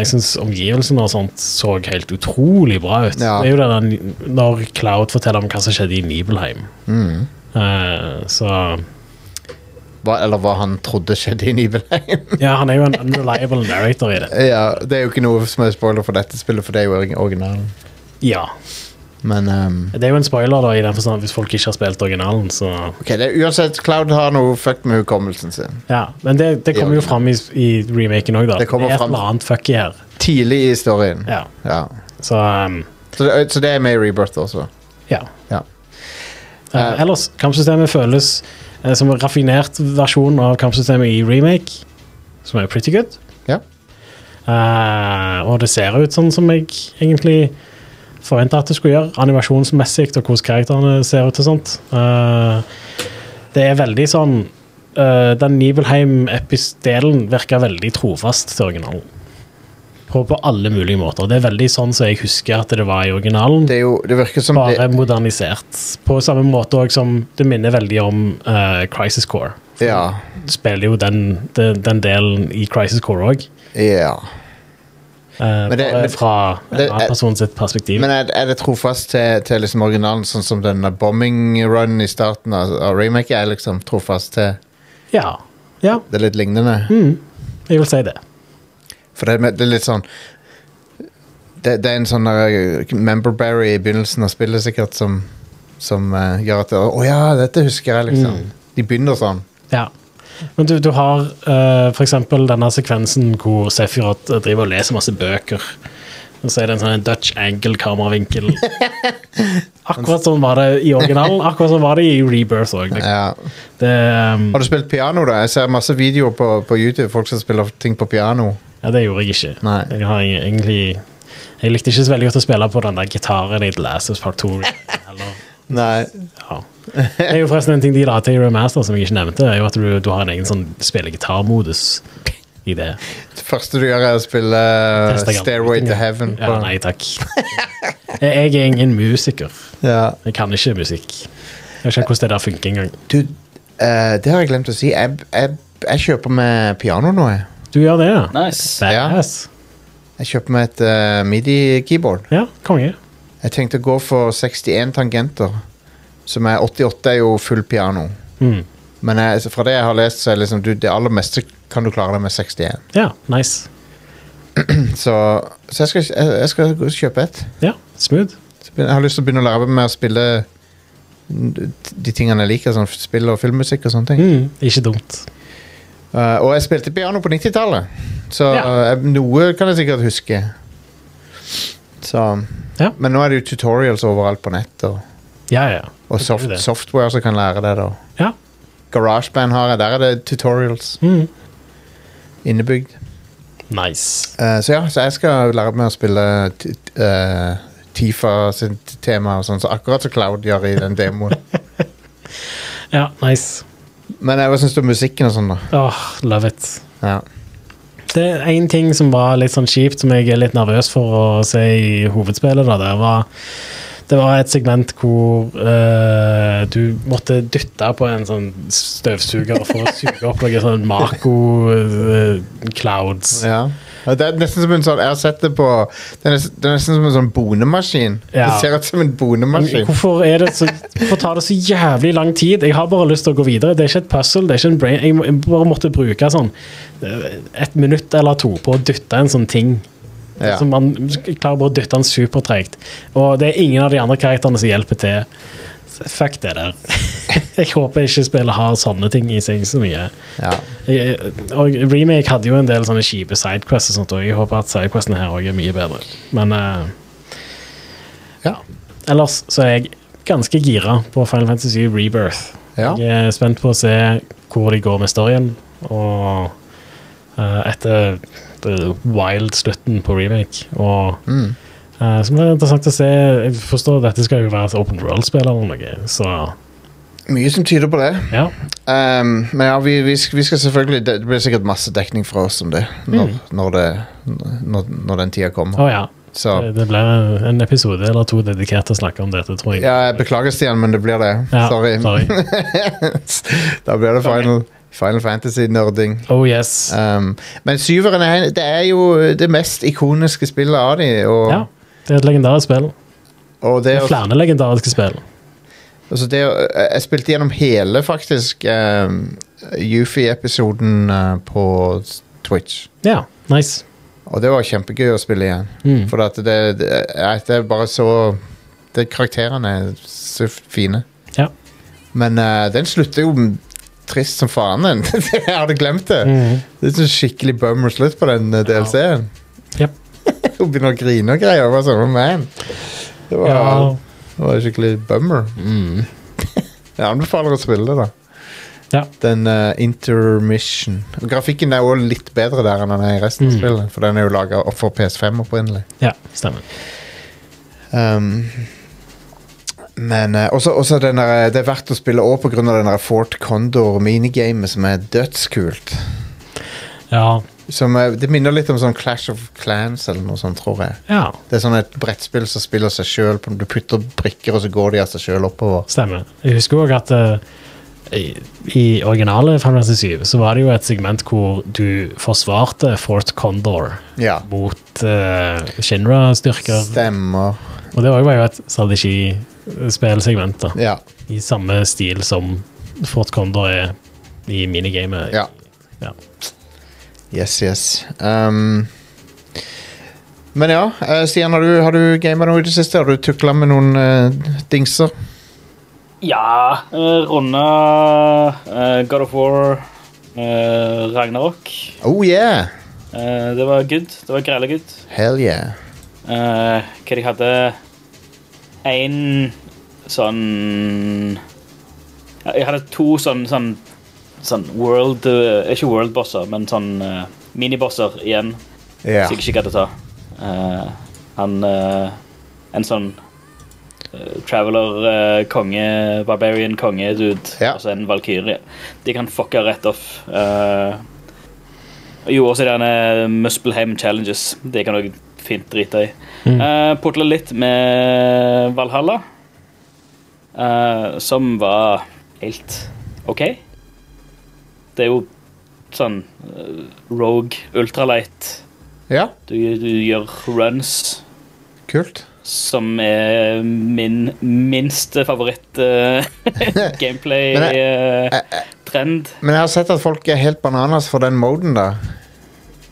D: jeg syns omgivelsene og sånt så helt utrolig bra ut.
C: Ja.
D: Det er jo det der, når Cloud forteller om hva som skjedde i Nibelheim.
C: Mm.
D: Eh, så
C: Hva, eller hva han trodde skjedde i Nibelheim.
D: Ja, han er jo en unreliable narrator i det.
C: ja, det er jo ikke noe som er spoiler for dette spillet, for det er jo orgi- originalen.
D: Ja.
C: Men ehm,
D: Det er jo en spoiler, da, i den forstand hvis folk ikke har spilt originalen, så
C: ok, det er, uansett, Cloud har noe fucked med hukommelsen sin.
D: Ja. Men det, det kommer jo fram i, i remaken òg, da.
C: Det kommer
D: er et
C: fram.
D: eller annet fucky her.
C: Tidlig i historien.
D: Ja.
C: Ja.
D: Så um,
C: Så, det, så det er med i Rebirth også.
D: Ja.
C: Ja.
D: Eh, ellers, kampsystemet føles eh, som en raffinert versjon av kampsystemet i remake, som er pretty good.
C: Ja.
D: Eh, og det ser ut sånn som jeg egentlig forventa at det skulle gjøre, animasjonsmessig og hvordan karakterene ser ut og sånt. Eh, det er veldig sånn eh, Den Nibelheim-episdelen virker veldig trofast til originalen. På, på alle mulige måter. Det er veldig sånn som jeg husker at det var i originalen
C: Det, er jo, det virker som
D: bare
C: det,
D: modernisert. På samme måte også som det minner veldig om eh, Crisis Core.
C: Ja.
D: Du spiller jo den, den, den delen i Crisis Core òg.
C: ja. Men det-
D: Eh, bare
C: men-
D: fra
C: det-
D: en annen person sitt perspektiv.
C: Men er, er det trofast til, til liksom originalen, sånn som denne bombing-runen i starten av, av remake er liksom trofast til
D: ja. ja,
C: det er litt lignende?
D: Mm. jeg vil si det.
C: For det, er med- det er litt sånn det, det er en sånn der, uh, member berry i begynnelsen av spillet sikkert som, som uh, gjør at det- Å ja, dette husker jeg, liksom.
D: Mm.
C: De begynner sånn.
D: Ja. Men du, du har eh, for eksempel denne sekvensen hvor Sefirot driver og leser masse bøker. Og så er det en sånn Dutch angle-kameravinkel. Akkurat sånn var det i originalen. Akkurat sånn var det i Rebirth òg.
C: Ja.
D: Det, um,
C: Har du spilt piano, da? Jeg ser masse videoer på, på YouTube. Folk som spiller ting på piano.
D: Ja, det gjorde jeg ikke.
C: Nei.
D: Jeg har eg- egentlig Jeg likte ikke så veldig godt å spille på den der gitaren i The Last of Us Part 2. Eller,
C: Nei.
D: ja. Det er jo forresten en ting de la til i Remaster som jeg ikke nevnte, er jo at du, du har en egen sånn spillegitarmodus i det.
C: Det første du gjør, er å spille uh,
D: Tester gamle
C: Stairway
D: ting,
C: to
D: ja.
C: Heaven.
D: Ja,
C: på-
D: nei takk. Jeg er ingen musiker.
C: Ja.
D: Jeg kan ikke musikk. Jeg vet ikke hvordan det der funker engang.
C: Du, eh, det har jeg glemt å si. Jeg, jeg, jeg kjøper meg piano nå, jeg.
D: Du gjør det, ja?
E: Nice.
D: Badass.
C: Jeg kjøper meg et eh, midi-keyboard.
D: Ja, konge.
C: Jeg tenkte å gå for 61 tangenter. Som er 88 er jo full piano.
D: Mm.
C: Men jeg, fra det jeg har lest, så er liksom, du, det aller meste kan du klare deg med 61.
D: Ja, nice.
C: Så, så jeg, skal, jeg, jeg skal gå og kjøpe et.
D: Ja, smooth.
C: Så begyn- Jeg har lyst til å begynne å lære meg å spille de tingene jeg liker. Sånn spill og filmmusikk og sånne ting.
D: Mm, ikke dumt.
C: Eh, og jeg spilte piano på 90-tallet, så
D: Ja.
C: eh, noe kan jeg sikkert huske. Så,
D: Ja.
C: Men nå er det jo tutorials overalt på nett, og,
D: Ja, ja.
C: og
D: Det er jo
C: soft,
D: det.
C: software som kan lære det. da.
D: Ja.
C: GarageBand har jeg, der er det tutorials
D: Mm.
C: innebygd.
D: Nice.
C: Eh, så ja, så jeg skal lære meg å spille t- t- eh, Tifa sitt tema og sånn, så akkurat som Cloud gjør i den demoen.
D: Ja, nice.
C: Men eh, hva syns du om musikken og sånn, da?
D: Åh, love it.
C: Ja.
D: Det er én ting som var litt sånn kjipt, som jeg er litt nervøs for å se i hovedspillet. Da. Det, var, det var et segment hvor eh, du måtte dytte på en sånn støvsuger for å suge opp noen sånn Mako eh, clouds.
C: ja. Ja, Det er nesten som en sånn Jeg har sett det på Det er nesten, det er nesten som en sånn bonemaskin.
D: Ja.
C: Det ser ut som en bonemaskin.
D: Hvorfor, er det så, hvorfor tar det så jævlig lang tid? Jeg har bare lyst til å gå videre. Det er ikke et puzzle. det er ikke en brain. Jeg må- Jeg bare måtte bruke sånn eh, et minutt eller to på å dytte en sånn ting.
C: Ja.
D: Så man klarer bare å dytte den supertregt. Og det er ingen av de andre karakterene som hjelper til. Så Fuck det der. Jeg håper ikke spillet har sånne ting i seg så mye.
C: Ja.
D: Jeg- eh, Og Remake hadde jo en del sånne kjipe sidequests og sånt, og jeg håper at sidequestene her òg er mye bedre. Men eh,
C: Ja.
D: ellers så er jeg ganske gira på Final Fantasy Rebirth.
C: Ja.
D: Jeg er spent på å se hvor de går med storyen, og eh, etter det wild-slutten på remake. Og
C: Mm.
D: eh, så blir det interessant å se Jeg forstår at dette skal jo være et open world-spill eller noe, så
C: Mye som tyder på det.
D: ja.
C: Ehm, men ja, vi, vi, sk- vi skal selvfølgelig Det blir sikkert masse dekning fra oss om det når, når, det, når, når den tida kommer.
D: Å Mm. ja. Det,
C: Så
D: det blir en episode eller to dedikert til å snakke om dette, tror jeg.
C: ja, jeg beklager, Stian, men det blir det.
D: Ja,
C: sorry.
D: sorry.
C: da blir det Final, Final Fantasy-nerding.
D: Oh yes.
C: Ehm, men syveren er, det er jo det mest ikoniske spillet av de og,
D: Ja. Det er et legendarisk spill.
C: og
D: Det
C: det,
D: er flere legendariske spill.
C: altså det Jeg spilte gjennom hele, faktisk, um, Yufi-episoden eh, på Twitch.
D: Ja, nice.
C: Og det var kjempegøy å spille igjen.
D: Mm.
C: For at det, det, jeg- det er bare så det, Karakterene er så fine.
D: Ja.
C: Men eh, den slutter jo trist som faen. Den. jeg hadde glemt det.
D: Mm.
C: Det er sånn skikkelig bummer slutt på den eh, DLC-en.
D: Jep.
C: Hun begynner å grine og greier. Jeg var sånn, man. Det var,
D: Ja.
C: det var skikkelig bummer. Jeg anbefaler å spille det, da.
D: Ja.
C: Den eh, intermission. Og grafikken er også litt bedre der enn den er i resten av
D: Mm.
C: spillet. For den er jo laga for PS5 opprinnelig.
D: ja, stemmer.
C: Um, men eh, også, også den der, det er verdt å spille òg pga. den der Fort Condor minigamet som er dødskult.
D: Ja.
C: Som er, det minner litt om sånn Clash of Clans eller noe sånt, tror jeg.
D: ja.
C: Det er sånn et brettspill som spiller seg sjøl. Du putter brikker, og så går de av seg sjøl oppover.
D: Stemmer. Jeg husker òg at eh, i, i originale Final Fantasy 7 så var det jo et segment hvor du forsvarte Fort Condor
C: Ja.
D: mot eh, Shinra-styrker.
C: Stemmer.
D: Og det var jo bare et strategispillsegment, da.
C: Ja.
D: I samme stil som Fort Condor er i minigamet.
C: ja.
D: Ja.
C: Yes, yes. Um, men ja, eh, Stian, har du, har du gama noe i det siste? Har du tukla med noen eh, dingser?
E: Ja, uh, runde eh, God of War, eh, Ragnarok.
C: Oh yeah!
E: Eh, det var good. Det var grelle good.
C: Hell yeah.
E: Eh, hva de hadde En sånn ja, Jeg hadde to sånn, sånn, sånn world eh, Ikke world-bosser, men sånn eh, minibosser igjen.
C: Ja.
E: Som jeg ikke gadd å ta. Eh, han eh, En sånn eh, traveler, eh, konge, barbarian konge dude.
C: Ja.
E: Og så en valkyrje. De kan fucke rett off. Eh, jo, også denne Muspelheim Challenges. Det kan du fint drite i. Mm. Putla litt med Valhalla, eh, som var helt OK. Det er jo sånn eh, Rogue Ultralight.
C: ja.
E: Du, du gjør runs,
C: Kult.
E: som er min minste eh,
C: Men jeg-
E: favoritt-gameplay-trend.
C: Men jeg har sett at folk er helt bananas for den moden, da.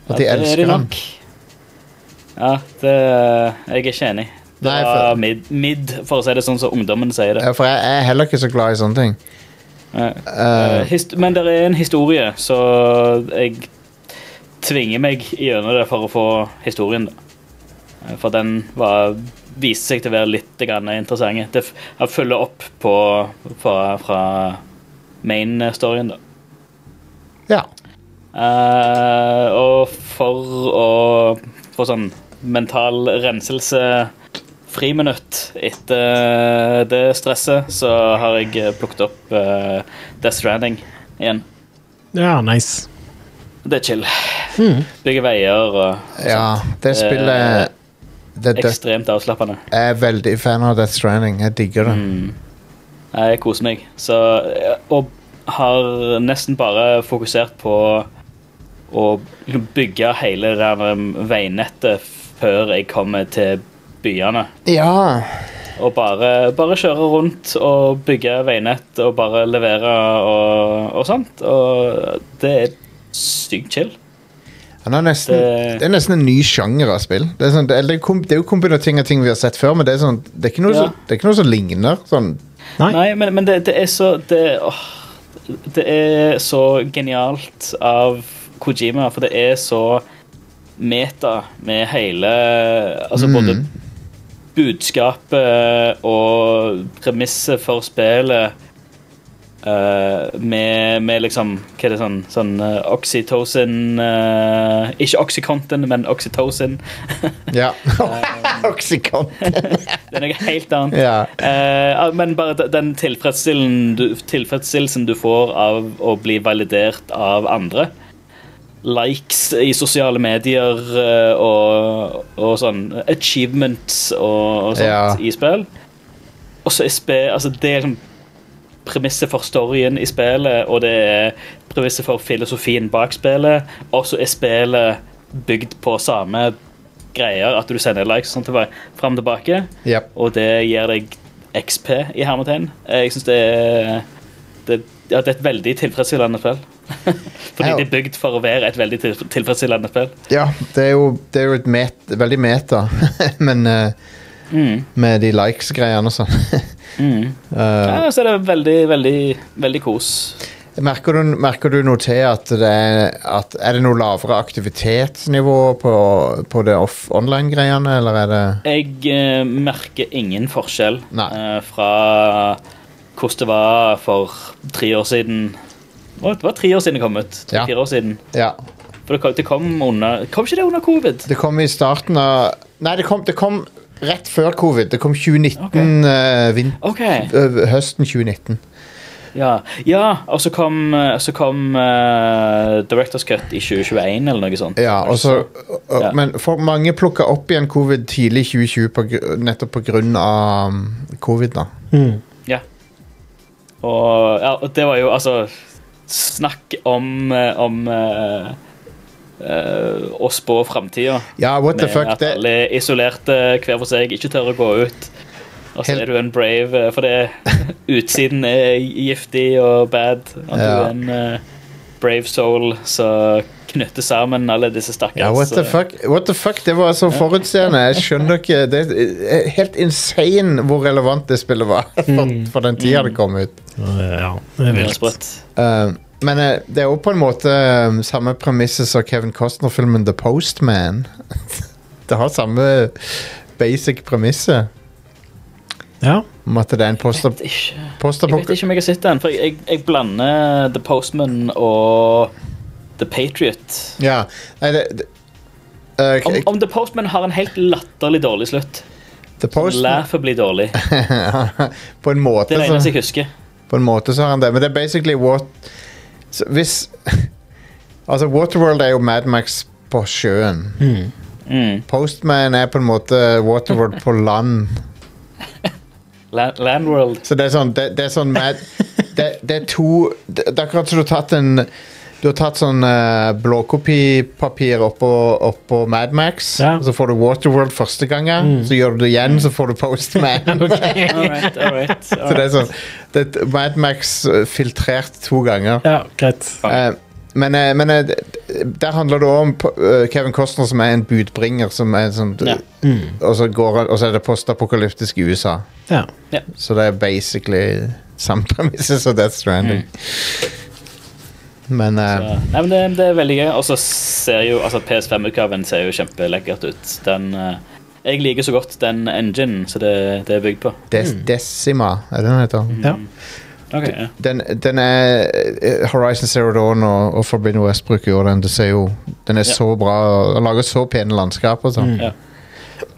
C: At de
E: Ja, det er de
C: elsker den.
E: nok. Ja, det Jeg er ikke enig. Det
C: Nei,
E: var
C: for-
E: mid, mid, for å si det sånn som ungdommen sier det.
C: Ja, for jeg er heller ikke så glad i sånne ting.
E: Ja.
C: Eh,
E: Eh, hist- Men det er en historie, så jeg tvinger meg gjennom det for å få historien. da. Eh, For den var, viste seg til å være litt grann interessant. Det f- jeg følger opp på, fra, fra main-storyen, da.
C: ja.
E: Eh, og for å få sånn mental renselse friminutt etter eh, det stresset, så har jeg plukket opp eh, Death Stranding igjen.
D: Ja, nice.
E: Det er chill. Bygge veier og
C: ja. Det spillet det, det,
E: ekstremt avslappende.
C: Jeg er veldig fan av Death Stranding. Jeg digger det.
E: Jeg koser eh, meg. Så, og har nesten bare fokusert på og liksom bygge hele det der veinettet før jeg kommer til byene.
C: Ja.
E: Og bare, bare kjøre rundt og bygge veinett og bare levere og, og sånt. Og det er sykt chill.
C: Han er nesten, det...
E: Det-
C: er nesten en ny sjanger av spill. Det er, sånn, det, eller det, kom, det er jo kombinert ting av ting vi har sett før, men det er, sånn, det er, ikke, noe
E: Ja.
C: som, det er ikke noe som ligner. Sånn,
D: Nei.
E: Nei, men, men det, det er så det, åh, det er så genialt av Kojima, for det er så meta med hele Altså både budskapet og premisset for spillet eh, med, med liksom Hva er det sånn sånn eh, Oxytocin eh, Ikke Oxycontin, men Oxytocin.
C: ja. Oxycontin.
E: Det er noe helt annet.
C: Ja.
E: Eh, ja, men bare de- den tilfredsstillelsen du, tilfredsstillelsen du får av å bli validert av andre. Likes i sosiale medier eh, og, og sånn achievements og, og sånt
C: Ja.
E: i spill. Og så er spill altså Det er liksom premisset for storyen i spillet, og det er premisset for filosofien bak spillet, og så er spillet bygd på samme greier, at du sender likes og sånt tilbake, fram og tilbake
C: Yep.
E: og det gir deg XP i hermetegn. Eh, Jeg synes det er det, ja, det er et veldig tilfredsstillende spill. Fordi
C: Ja.
E: det er bygd for å være et veldig tilf- tilfredsstillende spill.
C: Ja, det er jo, det er jo et met, veldig meta, men eh,
E: Mm.
C: med de likes-greiene og sånn.
E: Ja, så er det veldig, veldig, veldig kos.
C: Merker du, merker du noe til at det er at Er det noe lavere aktivitetsnivå på, på det off online-greiene, eller er det
E: Jeg eh, merker ingen forskjell
C: Nei.
E: eh, fra hvordan det var for tre år siden. Å, Det var tre år siden det kom ut.
C: Ja.
E: Tre-fire år siden.
C: Ja.
E: For det kom, det kom under Kom ikke det under covid?
C: Det kom i starten av Nei, det kom, det kom rett før covid. Det kom 2019.
E: Ok.
C: eh, vin,
E: OK.
C: ø, høsten 2019.
E: Ja, ja og så kom, så kom eh, Directors Cut i 2021 eller noe sånt.
C: Ja, og så, og-
E: Ja.
C: Men for mange plukka opp igjen covid tidlig i 2020 på, gr- nettopp på grunn av um, covid. da
E: Ja. Og ja, og det var jo altså Snakk om, eh, om eh, eh, å spå framtida.
C: Ja, what the
E: Med
C: fuck?
E: at
C: Det,
E: alle er isolerte hver for seg, ikke tør å gå ut. Og så
C: Helt-
E: er du en brave, eh, for det utsiden er giftig og bad. Og du
C: Ja.
E: er en eh, brave soul som knytter sammen alle disse stakkars
C: ja, what the
E: eh,
C: fuck? What the fuck? Det var så forutseende. Jeg skjønner ikke Det er helt insane hvor relevant det spillet var
E: Hmm.
C: for, for den tida det kom ut.
D: Eh, Ja, det er
E: Helt
D: vilt.
E: sprøtt.
C: Uh, men eh, det er jo på en måte um, samme premisset som Kevin Costner-filmen The Postman. det har samme basic premisset
D: Ja.
C: om at det er en poster...
E: Ikke- Jeg vet
C: posterpok-
E: ikke om jeg har sett den, for jeg, jeg, jeg blander The Postman og The Patriot.
C: Ja. Nei, det, det eh,
E: Om, om The Postman har en helt latterlig dårlig slutt.
C: The Postman
E: Laughably dårlig.
C: På en
E: Det
C: måte
E: er det
C: så
E: eneste jeg husker.
C: På en måte så har han det, men det er basically what så Hvis Altså, Waterworld er jo Mad Max på sjøen.
E: Mm.
C: Postman er på en måte Waterworld på land.
E: La- Landworld.
C: Så det er sånn Det, det er sånn mad, det, det er to Det det er akkurat som du har tatt en du har tatt sånn eh, blåkopipapir oppå, oppå Mad Max,
D: Ja.
C: og
D: Mm.
C: så får du Waterworld første gangen, så gjør du det igjen, så får du Postman.
E: All right, all right.
C: Så det er sånn det er Mad Max eh, filtrert to ganger.
D: ja, greit.
C: Eh, men, eh, men eh, d- der handler det også om po- eh, Kevin Costner som er en budbringer som er sånn,
E: Ja.
C: og, så går, han- og så er det postapokalyptisk i USA.
D: Ja.
C: Så det er basically samme premisse som Death Stranding. Men eh,
E: Ja. Nei, men det, det er veldig gøy. Og så ser jo altså PS5-utgaven ser jo kjempelekkert ut. Den eh, Jeg liker så godt den enginen som det, det er bygd på.
C: Des Decima, er det den heter?
D: ja.
E: Okay, ja.
C: Den, den er eh, Horizon Zero Dawn og, og Forbidden West bruker jo den. Det ser jo, den er
E: Ja.
C: så bra og og lager så pene landskap og sånn.
E: Ja.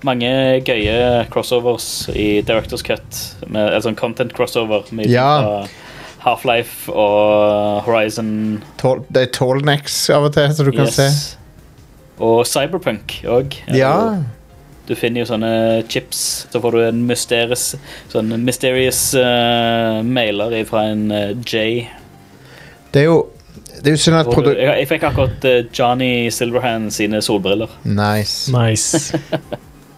E: Mange gøye crossovers i Directors Cut. Med, altså en content crossover med
C: Ja.
E: fra Half-Life og Horizon.
C: Tall- Det er tallnecks av og til, så du kan se.
E: Yes. Og Cyberpunk òg.
C: Ja.
E: Du finner jo sånne chips. Så får du en mysterious, sånn mysterious eh, mailer fra en eh, J.
C: Det er jo Det er jo synd at
E: Hvor du-
C: produ...
E: Jeg, jeg fikk akkurat eh, Johnny Silverhand sine solbriller.
C: Nice.
D: Nice.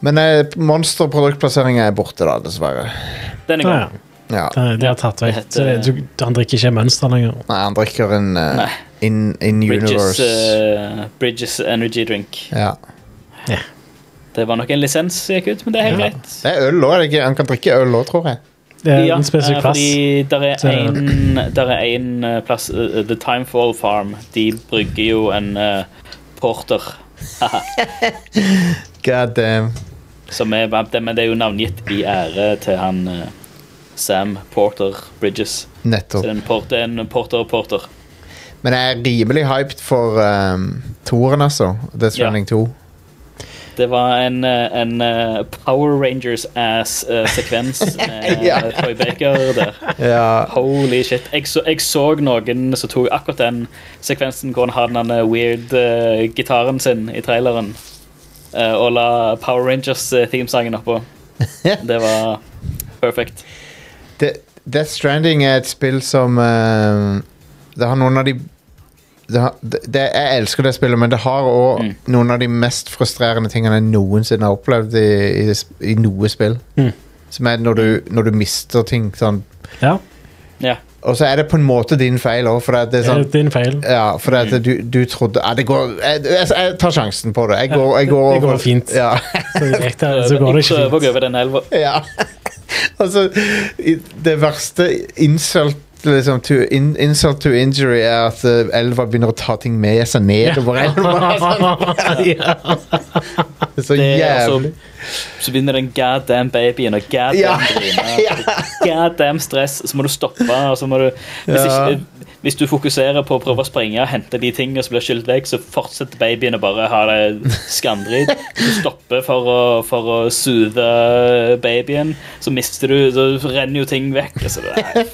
C: Men eh, monsterproduktplasseringa er borte, da, dessverre.
E: Denne
D: Ja,
E: gangen.
D: ja.
C: Ja.
D: Det, det har tatt vekk. Så det- du- Han drikker ikke mønster lenger.
C: Nei, han drikker en eh,
E: Nei.
C: in, in
E: Bridges,
C: universe.
E: eh, Bridges Energy Drink.
C: ja.
E: Det var nok en lisens som gikk ut, men det er helt
D: Ja.
E: greit.
C: Det er øl òg, er det ikke? Han kan drikke øl òg, tror jeg.
D: Det er en
E: eh,
D: spesifikk plass.
E: fordi der er
D: Så-
E: en, der er en eh, plass eh, The Timefall Farm. De brygger jo en eh, porter.
C: God damn.
E: Som er, men det er jo navngitt i ære til han eh, Sam Porter Bridges. Så det
C: Nettopp.
E: er en porter, en porter og porter.
C: Men jeg er rimelig hyped for um, toeren, altså. Death Stranding 2.
E: Det var en, eh, en eh, Power Rangers-ass-sekvens med
C: Ja.
E: eh, Troy Baker der.
C: Ja.
E: Holy shit. Jeg så, jeg så noen som tok akkurat den sekvensen hvor han har den eh, weird eh, gitaren sin i traileren, eh, og la Power Rangers-themesangen oppå. Det var perfekt.
C: De- Death Stranding er et spill som eh, Det har noen av de det har, det, det- Jeg elsker det spillet, men det har òg
E: Mm.
C: noen av de mest frustrerende tingene jeg noensinne har opplevd i, i, sp- i noe spill.
D: Mm.
C: Som er når du, når du mister ting sånn.
D: Ja,
E: Ja.
C: Og så er det på en måte din feil òg, for det er
D: det er
C: sånn
D: eh, din feil.
C: ja, for at du, du trodde ja, det går, jeg, jeg, jeg tar sjansen på det. Jeg går, jeg
D: det-
C: går
D: det går
C: over-
D: fint.
C: Ja.
D: Så, gikk det, så
E: Jeg
D: går det
E: prøver
D: ikke
E: å gå
D: fint.
E: over den elva.
C: Ja. altså, i- det verste insult Liksom, to in, insult to injury er at eh, elva begynner å ta ting med seg nedover elva.
D: Ja.
C: Det er så
E: Det er
C: jævlig.
E: altså, så begynner den goddamn babyen og goddamn
C: Ja.
E: griner. Goddamn stress. Så må du stoppe. Og så må du, hvis,
C: Ja.
E: ikke, hvis du fokuserer på å prøve å springe og hente de tingene som blir skyldt deg, så fortsetter babyen å bare ha det skamdrit. Du stopper for å, for å soothe babyen, så mister du Så renner jo ting vekk. Altså, det er,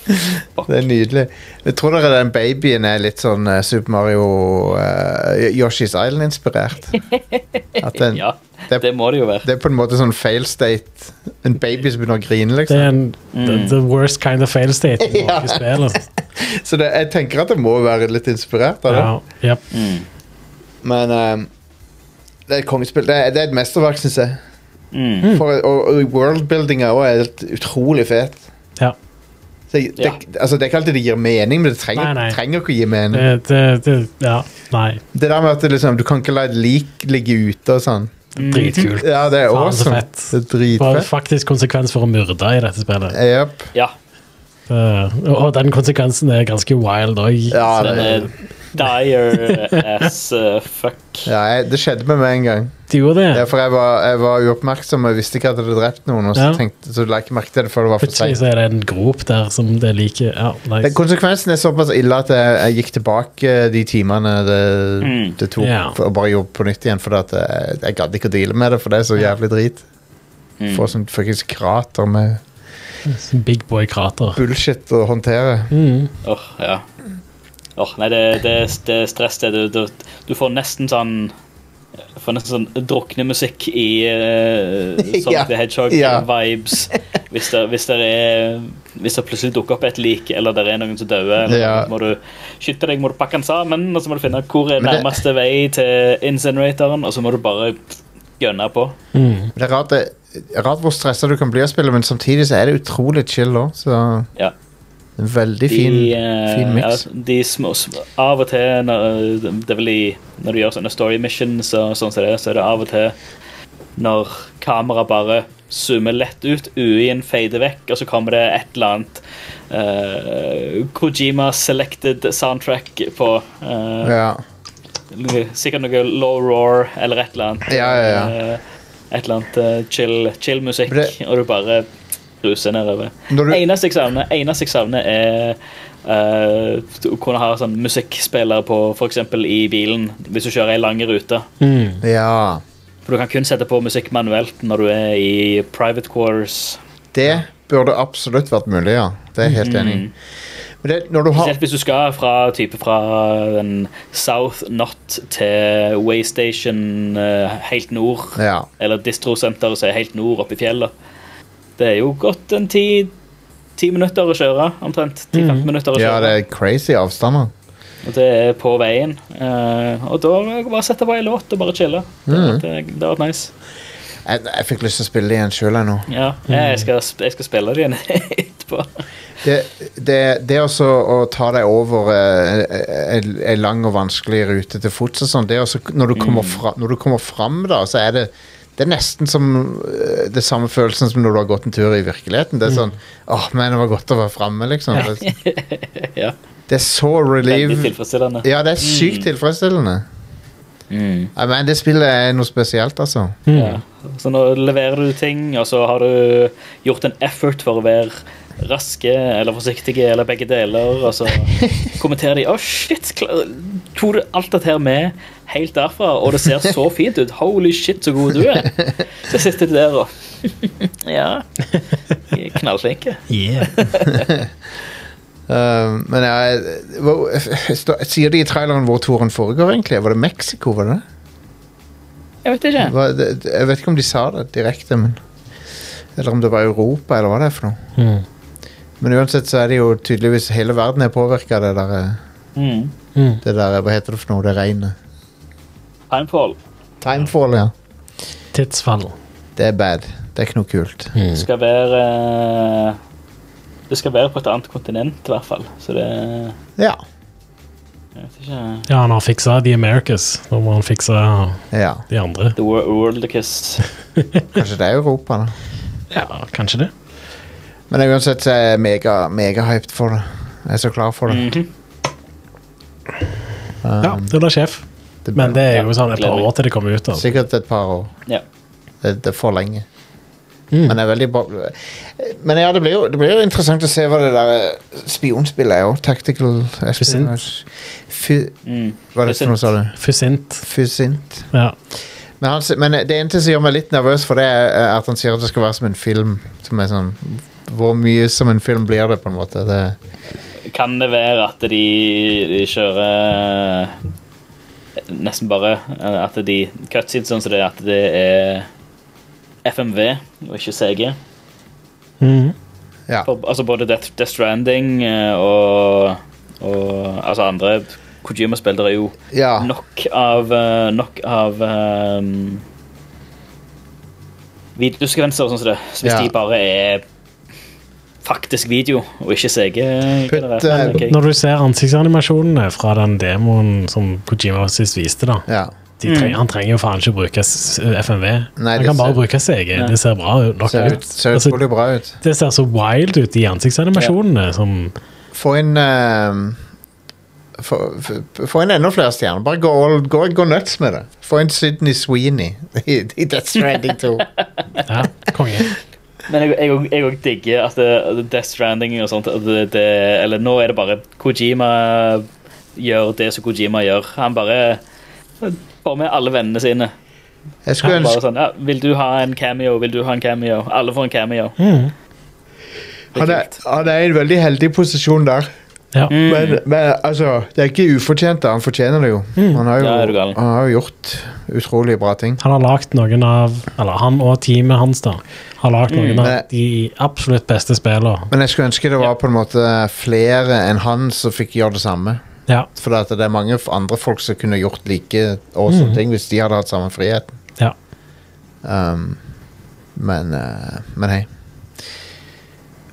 C: Det er nydelig. Jeg tror dere den babyen er litt sånn eh, Super Mario eh, Yoshi's Island-inspirert. At den,
E: ja,
C: det,
E: det må det jo være.
C: det er på en måte sånn fail state. En baby som begynner å grine,
D: Det
C: liksom.
D: er en,
E: Mm.
D: the, the worst kind of fail state i
C: Ja.
D: noe spill. altså.
C: Så det, jeg tenker at det må være litt inspirert av det.
D: Ja, jep.
C: Men eh, det er et kongespill. Det er, det er et mesterverk, syns jeg.
E: Mm.
C: For, og, og worldbuildinga også er helt utrolig fet.
D: ja.
C: Så jeg, det,
E: Ja.
C: altså, det er ikke alltid det gir mening, men det trenger,
D: Nei, nei.
C: trenger ikke å gi mening.
D: Det, det, det, ja. Nei.
C: Det der med at det, liksom, du kan ikke la et lik ligge ute og sånn.
E: Mm.
D: Dritkult.
C: Ja, det er
D: Faen, så
C: awesome.
D: fett.
C: Det er
D: Det var
C: dritfett.
D: faktisk konsekvens for å myrde i dette spillet.
C: Yep.
E: Ja.
D: Eh, og den konsekvensen er ganske wild òg.
C: Ja, det,
E: Den er dire as uh, fuck.
C: ja jeg, det skjedde med meg en gang.
D: Du gjorde
C: Ja,
D: det?
C: for jeg var, jeg var uoppmerksom og jeg visste ikke at jeg hadde drept noen. Og så,
D: Ja.
C: tenkte, så la jeg ikke merke til det før det var for
D: Plutselig
C: seint.
D: så er det en grop der som det liker. Ja,
C: Den
D: nice.
C: Konsekvensen er såpass ille at jeg, jeg gikk tilbake eh, de timene det,
E: Mm.
C: det tok,
D: Ja.
C: for, og bare gjorde på nytt igjen, for at jeg, jeg gadd ikke å deale med det, for det er så jævlig drit.
E: Mm.
C: Få sånn fuckings krater med
D: Big boy-krater.
C: bullshit å håndtere.
D: Mm.
E: Åh, ja. Åh, nei, det, det, det er stress, det. Du, du, du får nesten sånn du Får nesten sånn drukne musikk i uh, Sonic
C: Ja,
E: the
C: ja.
E: Hedgehog-vibes. Hvis, det- hvis, det er- hvis det plutselig dukker opp et lik, eller det er noen som dauer, eller
C: Ja.
E: noe, må du skytte deg, må du pakke den sammen, og så må du finne ut hvor er
C: Men det-
E: nærmeste vei til insinuatoren, og så må du bare gønne på.
D: Mm.
C: Det er rart, det, rart hvor stressa du kan bli av spillet, men samtidig så er det utrolig chill òg, så
E: Ja.
C: en veldig fin,
E: eh,
C: fin miks.
E: ja, de små, små- av og til når, eh, det er vel i, når du gjør sånne story missions, og sånn som det, er, så er det av og til når kameraet bare zoomer lett ut, UI-en fader vekk, og så kommer det et eller annet eh, Kojima selected soundtrack på eh,
C: Ja.
E: Sikkert noe low roar eller et eller annet.
C: Ja, ja, ja.
E: Eh, et eller annet eh, chill, chill musikk,
C: Men det-
E: og du bare ruser nedover.
C: Når du-
E: Eneste jeg savner, eneste jeg savner er eh, å kunne ha sånn musikkspiller på f.eks. i bilen, hvis du kjører ei lang rute.
D: Mm.
C: ja.
E: For du kan kun sette på musikk manuelt når du er i private quarters.
C: Det burde absolutt vært mulig, ja. Det er jeg helt enig i. Men det, når du har
E: Spesielt Mhm. hvis du skal fra, type fra den South Not til Waystation eh, helt nord.
C: Ja.
E: Eller distrosenteret som er helt nord oppe i fjellet. Det er jo godt en ti, ti minutter å kjøre, omtrent. 10-15 minutter å
C: Mm. ja,
E: kjøre.
C: det er crazy avstander.
E: Og det er på veien. Eh, og da må jeg bare sette på en låt og bare chille. Det har
C: Mm.
E: vært- det har vært nice.
C: Jeg, jeg fikk lyst til å spille det igjen sjøl nå.
E: Ja, jeg
C: Mm.
E: skal, sp- jeg skal spille det igjen etterpå.
C: Det, det, det også å ta deg over ei lang og vanskelig rute til fots og sånn, det er også når du
E: Mhm.
C: kommer, fra, når du kommer fram, da, så er det det er nesten som eh, det samme følelsen som når du har gått en tur i virkeligheten. Det er sånn
E: Mhm.
C: åh, men det var godt å være framme, liksom. Det,
E: Ja,
C: det er så
E: veldig
C: relief.
E: tilfredsstillende. Mhm.
C: Ja, det er sykt tilfredsstillende. Ja, men det spillet er noe spesielt, altså.
E: Ja. Så nå leverer du ting, og så har du gjort en effort for å være raske eller forsiktige eller begge deler, og så kommenterer de 'Å, shit, kla- tok du alt dette her med helt derfra?' Og det ser så fint ut. 'Holy shit, så god du er'. Så sitter de der og Ja. de er Knallflinke.
D: Yeah.
C: Eh, men jeg, hvor- sier de i traileren hvor turen foregår, egentlig? Var det Mexico, var det det?
E: Jeg vet ikke.
C: Hva, det, det- jeg vet ikke om de sa det direkte, men Eller om det var Europa, eller hva det er for noe.
D: Mm.
C: Men uansett så er det jo tydeligvis hele verden er påvirka av det der, eh,
E: Mm.
C: det der eh, Hva heter det for noe? Det regnet.
E: Timefall.
C: Timefall, ja.
D: Tidsfall.
C: Det er bad. Det er ikke noe kult.
E: Det skal være eh, Det skal være på et annet kontinent, i hvert fall. Så det
C: Ja.
E: Jeg vet ikke
D: Ja, han har fiksa The Americas. Nå må han fikse
C: ja.
D: de andre.
E: The Wor- Worldicus.
C: Kanskje det er Europa, da.
D: Ja, kanskje det.
C: Men uansett så er jeg mega, megahyped for det. Jeg er så klar for
D: Mm.
C: det.
D: Ja, det blir sjef.
C: Um, det
D: Men det er
E: Ja,
D: jo sånn et
E: gleder
D: par
E: meg.
D: år til det kommer ut. Altså.
C: Sikkert et par år.
E: Ja.
C: Det, det er for lenge. Men det er veldig bra Men ja, det blir, jo, det blir jo interessant å se hva det der eh, spionspillet er òg. Tactical espionage. Fy,
E: Mm.
C: hva er det for noe, sa du?
D: Fusint.
C: Fusint.
D: Ja.
C: Men, han, s- men det eneste som gjør meg litt nervøs for det, er eh, at han sier at det skal være som en film. Som er sånn Hvor mye som en film blir det, på en måte? Det,
E: Kan det være at de, de kjører eh, Nesten bare eh, at de cutscenes sånn som det er at det er FMV og ikke CG.
D: Mhm.
C: ja.
E: For, altså både Death, Death Stranding eh, og, og altså andre Kojima-spill. Det er jo
C: ja.
E: nok av eh, Nok av um, Videossekvenser og sånn som det. Så hvis
C: Ja.
E: de bare er faktisk video og ikke CG
C: Putt,
E: generert,
C: eh,
E: men, ok.
D: Når du ser ansiktsanimasjonene fra den demoen som Kojima sist viste, da
C: ja.
D: de tre, Han trenger jo faen ikke bruke s- FMV.
C: Mm. Nei,
D: han
C: det
D: kan bare
C: ser-
D: bruke CG.
E: Nei.
D: Det ser bra ut. nok
C: Ser
D: ut.
C: ut- ser
D: Altså,
C: utrolig bra ut.
D: det ser så wild ut i ansiktsanimasjonene. Som,
C: Få inn ehm, få- f- Få inn enda flere stjerner. Bare gå, all, gå, gå nuts med det. Få inn Sydney Sweeney i, i Death Stranding 2.
D: ja, konge.
E: Men jeg- jeg òg- jeg òg digger at det- Death Stranding og sånt at det, det, Eller nå er det bare Kojima gjør det som Kojima gjør. Han bare får med alle vennene sine.
C: Jeg skulle
E: Bare
C: ønske
E: sånn, ja, 'Vil du ha en cameo? Vil du ha en cameo?' Alle får en cameo.
C: han er, han er i en veldig heldig posisjon der.
D: Ja.
E: Mm.
C: Men, men altså, det er ikke ufortjent. da. Han fortjener det jo. Han har jo,
E: Mm. Ja, er du gal.
C: han har jo gjort utrolig bra ting.
D: Han har lagt noen av Eller han og teamet hans da har lagt noen av
C: Men-
D: de absolutt beste spillene.
C: Men jeg skulle ønske det var
E: Ja.
C: på en måte flere enn han som fikk gjøre det samme.
D: Ja,
C: For at det er mange f- andre folk som kunne gjort like
E: Mm.
C: awesome ting hvis de hadde hatt samme friheten.
D: ja.
C: Um, men, eh, men hei.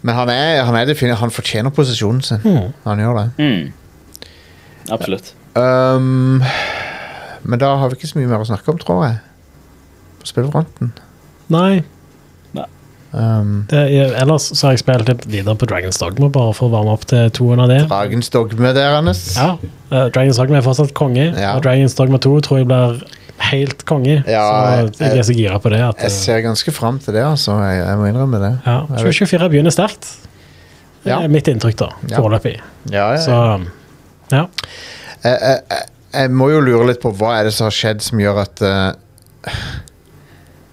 C: Men han er, han er defini- Han fortjener posisjonen sin. Han gjør det.
E: Mm. Absolutt.
C: Um, men da har vi ikke så mye mer å snakke om, tror jeg. På spillfronten.
D: Nei,
C: Um,
D: det, er- ellers så har jeg spilt litt videre på Dragons Dogma, bare for å varme opp til toen av det.
C: Dragens dogme deres.
D: Ja, eh, Dragons Dogma er fortsatt konge,
C: Ja.
D: og Dragons Dogma 2 tror jeg blir helt konge.
C: Ja,
D: så jeg er så gira på det. At, eh,
C: Jeg ser ganske fram til det, altså. Jeg, jeg må innrømme det.
D: ja, 2024 begynner sterkt. Det
C: Ja.
D: er mitt inntrykk, da.
C: Ja. Eh.
D: Foreløpig.
C: Ja, ja,
D: Så ja.
C: jeg, jeg, jeg- jeg må jo lure litt på hva er det som har skjedd som gjør at eh,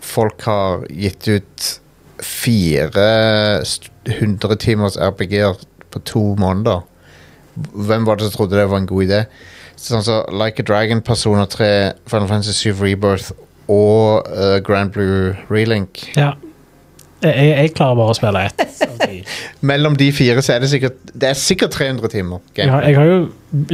C: folk har gitt ut 400 timers RPG-er på to måneder. Hvem var det som trodde det var en god idé? Sånn som Like a Dragon, Persona 3, Final Fantasy 7 Rebirth og eh, Grand Blue Relink.
D: ja. Jeg, jeg klarer bare å spille ett. av de.
C: Mellom de fire så er det sikkert Det er sikkert 300 timer.
D: Jeg har,
C: gameplay.
D: jeg har jo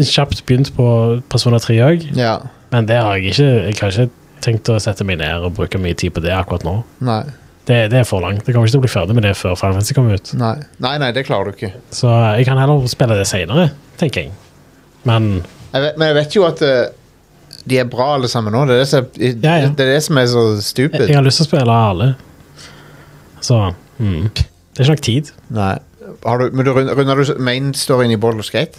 D: kjapt begynt på Persona 3 òg,
C: Ja,
D: men det har jeg ikke Jeg har ikke tenkt å sette meg ned og bruke mye tid på det akkurat nå.
C: nei,
D: Det, det er for langt. Jeg kommer ikke til å bli ferdig med det før Final Fantasy kommer ut.
C: nei. Nei, nei, det klarer du ikke.
D: Så jeg kan heller spille det senere, tenker jeg. Men
C: Jeg vet, men jeg vet jo at eh, de er bra alle sammen nå. Det er det som,
D: Ja, ja.
C: Det er, det som er så
D: jeg,
C: stupid.
D: jeg har lyst til å spille alle. Så mm. Det er ikke nok tid.
C: Nei. Har du, men du rund- runder du main storyen i Boulder Skate?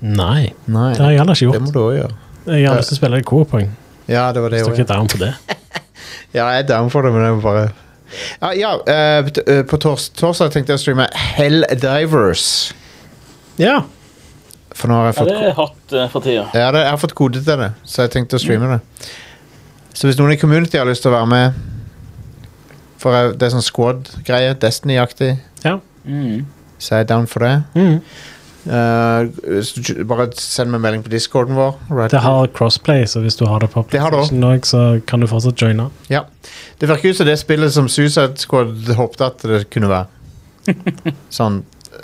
D: Nei.
C: Nei.
D: Det har jeg heller ikke
C: Det må
D: gjort.
C: du òg gjøre.
D: Jeg har lyst til å spille Coop-poeng.
C: Ja, det var det
D: Står
C: òg.
D: ikke down på det.
C: Ja, jeg er down for det, men jeg må bare Ja, ja eh, t- eh, på tors torsdag tenkte jeg å streame Helldivers.
D: Ja.
C: For nå har jeg
E: Ja,
C: fått
E: det er hot eh, for tida.
C: Ja, det, jeg har fått kode til det, så jeg tenkte å streame det. Så hvis noen i community har lyst til å være med For eh, det er sånn squad-greie, Destiny-aktig,
D: ja.
E: Mm.
C: så jeg er down for det.
D: Mm.
C: Eh, hvis du ikke- bare send meg melding på discorden vår. Right.
D: Det har crossplay, så hvis du har det på
C: Det har det også.
D: PlayStation òg, så kan du fortsatt joine.
C: Ja. Det virker ut som det spillet som Suicide Squad håpte at det kunne være. sånn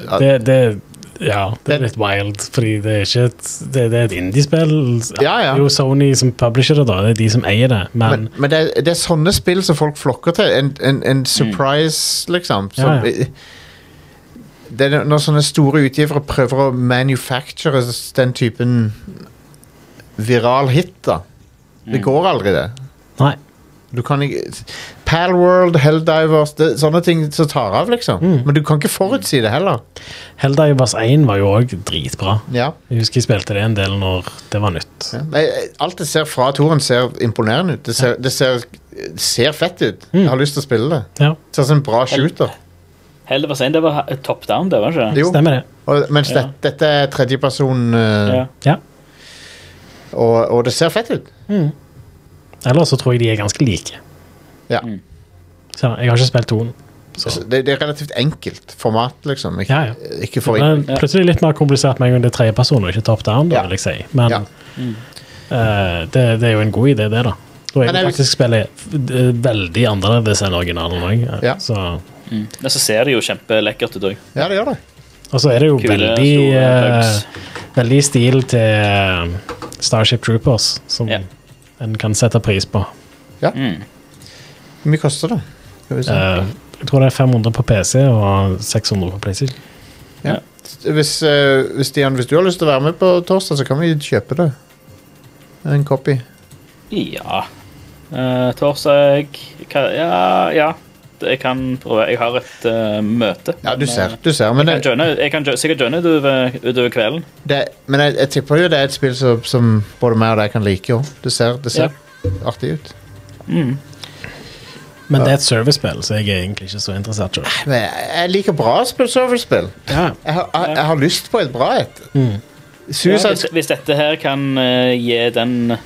C: Ja.
D: Det, det ja, det
C: Det-
D: er litt wild, fordi det er ikke et, det, det er et indiespill.
C: Ja, ja.
D: Det er jo Sony som publisher det, da. Det er de som eier det. Men, Mm.
C: Men, men det, er, det er sånne spill som folk flokker til. En, en, en surprise, liksom. Som,
D: Ja, ja.
C: Det er når sånne store utgivere prøver å manufacture den typen viral hit, da.
D: Mm.
C: Det går aldri, det.
D: nei.
C: Du kan ikke Palworld, Helldivers det, Sånne ting som tar av, liksom.
D: Mm.
C: Men du kan ikke forutsi det heller.
D: Helldivers 1 var jo òg dritbra.
C: Ja.
D: Jeg husker jeg spilte det en del når det var nytt.
C: Ja. Nei, Alt det ser fra toren, ser imponerende ut. Det ser, det ser, ser fett ut. Jeg har lyst til å spille det.
D: Mm. Ja,
C: Det ser ut som en bra shooter.
E: Heller var sein, det var he- top down, det, var ikke det?
C: Jo.
D: stemmer det.
C: Og, mens det,
E: Ja.
C: dette er tredjeperson, eh,
E: Ja.
D: Ja.
C: og, og det ser fett ut.
D: Ellers så tror jeg de er ganske like.
C: Ja.
E: Mm.
D: Så jeg har ikke spilt toen. Så.
C: Så Det, det er relativt enkelt format, liksom. Ikke,
D: Ja, ja.
C: ikke for
D: Men plutselig litt mer komplisert med en gang det er tredjeperson og ikke top down, da,
C: Ja.
D: vil jeg si. Men
C: Ja.
D: eh, det, det er jo en god idé, det, da. Da er
C: Men
D: det
C: jeg-
D: faktisk spillet f- d- veldig annerledes enn originalen òg.
C: Ja.
E: Men så ser det jo kjempelekkert ut òg.
C: Ja, det gjør det.
D: Og så er det jo
E: Kule,
D: veldig
E: store
D: eh,
E: bugs.
D: Veldig stil til eh, Starship Troopers, som
E: Ja.
D: en kan sette pris på.
C: Hvor mye koster det? Skal vi se.
D: Eh, jeg tror det er 500 på PC og 600 på PlayStation.
C: ja. Hvis, eh, hvis, Stian, hvis du har lyst til å være med på torsdag, så kan vi kjøpe det. En copy.
E: Ja. Eh, torsdag hva- Ja, ja. Jeg kan prøve. Jeg har et eh, møte.
C: Ja, du
E: men,
C: ser.
E: eh,
C: Du ser men
E: Jeg kan,
C: det,
E: joine, jeg kan jo, sikkert joine utover, utover kvelden.
C: det, men jeg, jeg tipper jo det er et spill som, som både meg og deg kan like. jo. Det ser, det ser artig ut.
D: Men det er et servicespill, så jeg er egentlig ikke så interessert. Selv.
C: Men jeg, jeg liker bra spill, serverspill.
D: Ja.
C: Jeg, har- jeg, jeg har lyst på et bra et.
E: Mm. Ja,
C: Suicide
E: hvis, hvis dette her kan eh, gi den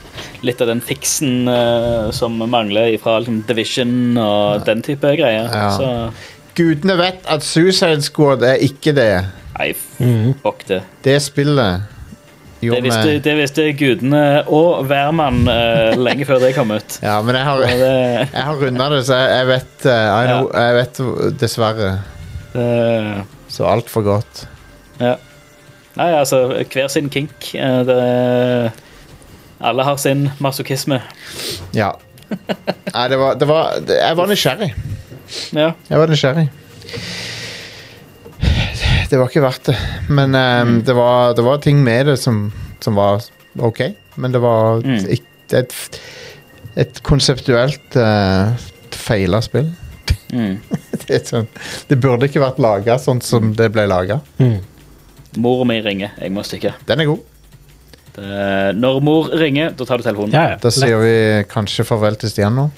E: litt av den fiksen eh, som mangler fra liksom, Division og den type greier,
C: Ja.
E: så
C: Gudene vet at Suicide Squad er ikke det.
E: Nei, f- fuck det.
C: Det spillet
E: Det
C: gjorde
E: visste,
C: meg
E: det visste gudene og hvermann eh, lenge før det kom ut.
C: Ja, men jeg har,
E: Og det,
C: jeg har runda det, så jeg, jeg vet eh, I know, Jeg vet dessverre
E: det
C: så altfor godt.
E: Ja. Nei, altså, hver sin kink. eh, Det, alle har sin masochisme.
C: Ja. Nei, det var, det var det, Jeg var nysgjerrig.
E: Ja.
C: Jeg var nysgjerrig. Det var ikke verdt det. Men eh, det, var, det var ting med det som, som var OK. Men det var
E: Mm.
C: ikke- et, et konseptuelt uh, feila spill.
E: Mm.
C: Det, er sånn, det burde ikke vært laga sånn som det ble laga.
E: Mor mi ringer. Jeg må stikke.
C: Den er god.
E: Det, når mor ringer, da tar du telefonen.
D: Ja, ja.
C: Da sier vi kanskje farvel til Stian nå.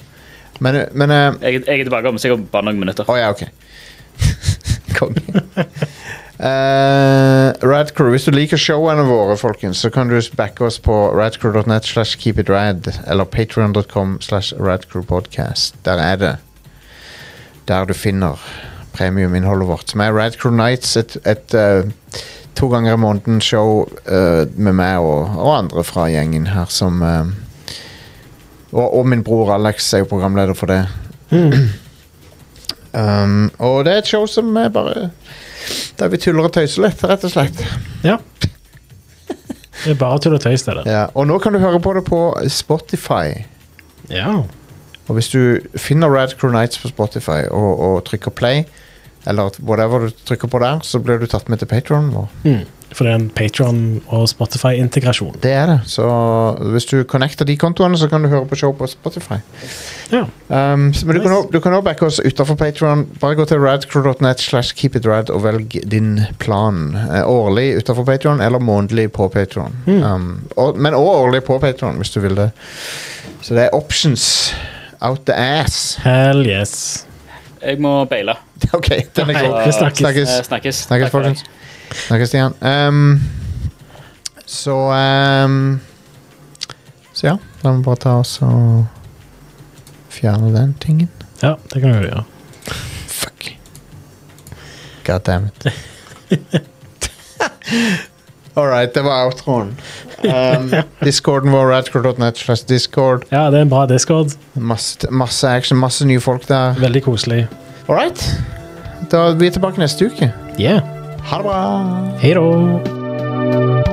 C: Men, men eh,
E: Jeg, jeg er tilbake om sikkert bare noen minutter.
C: Å ja, ok. Konge. Eh, Radcrew, hvis du liker showene våre, folkens, så kan du backe oss på radcrew.net slash keepitrad eller patreon.com slash radcrewpodcast. Der er det. Der du finner premiuminnholdet vårt, som er Radcrew Nights, et, et eh, to ganger i måneden show eh, med meg og, og andre fra gjengen her som eh, og, og min bror Alex er jo programleder for det. Um, og det er et show som er bare Der vi tuller og tøyser litt, rett og slett.
D: Ja. Det er bare tull og tøys, det der.
C: Ja, og nå kan du høre på det på Spotify.
D: Ja.
C: Og hvis du finner Rad Crew Nights på Spotify og, og trykker play, eller whatever du trykker på der, så blir du tatt med til Patron vår.
D: Mm. For det er en Patron- og Spotify-integrasjon.
C: Det er det. Så hvis du connecter de kontoene, så kan du høre på show på Spotify.
D: Ja.
C: Um, så, men du kan
D: Nice.
C: også- du kan òg backe oss utafor Patron. Bare gå til radcrew.net slash keep it rad og velg din plan. Eh, Årlig utafor Patron eller månedlig på Patron.
D: Hmm.
C: Um, og, men òg årlig på Patron, hvis du vil det. Så det er options out the ass.
D: Hell yes.
E: Jeg må beile.
C: OK, den er
D: Nei,
C: god.
D: vi snakkes.
C: Snakkes.
E: Eh, snakkes.
C: Snakkes,
E: Takk for
C: folkens. Snakkes, Stian. Um, så um, Så ja, la meg bare ta oss og fjerne den tingen.
D: Ja, det kan vi jo gjøre.
C: Fuck. God damn it. All right, det var outroen. Um, Discorden vår, radcore.net slash discord.
D: Ja, det er en bra discord.
C: Masse, masse action, masse nye folk der.
D: Veldig koselig.
C: All right. Da er vi tilbake neste uke.
D: Yeah.
C: Ha det bra.
D: Hei da.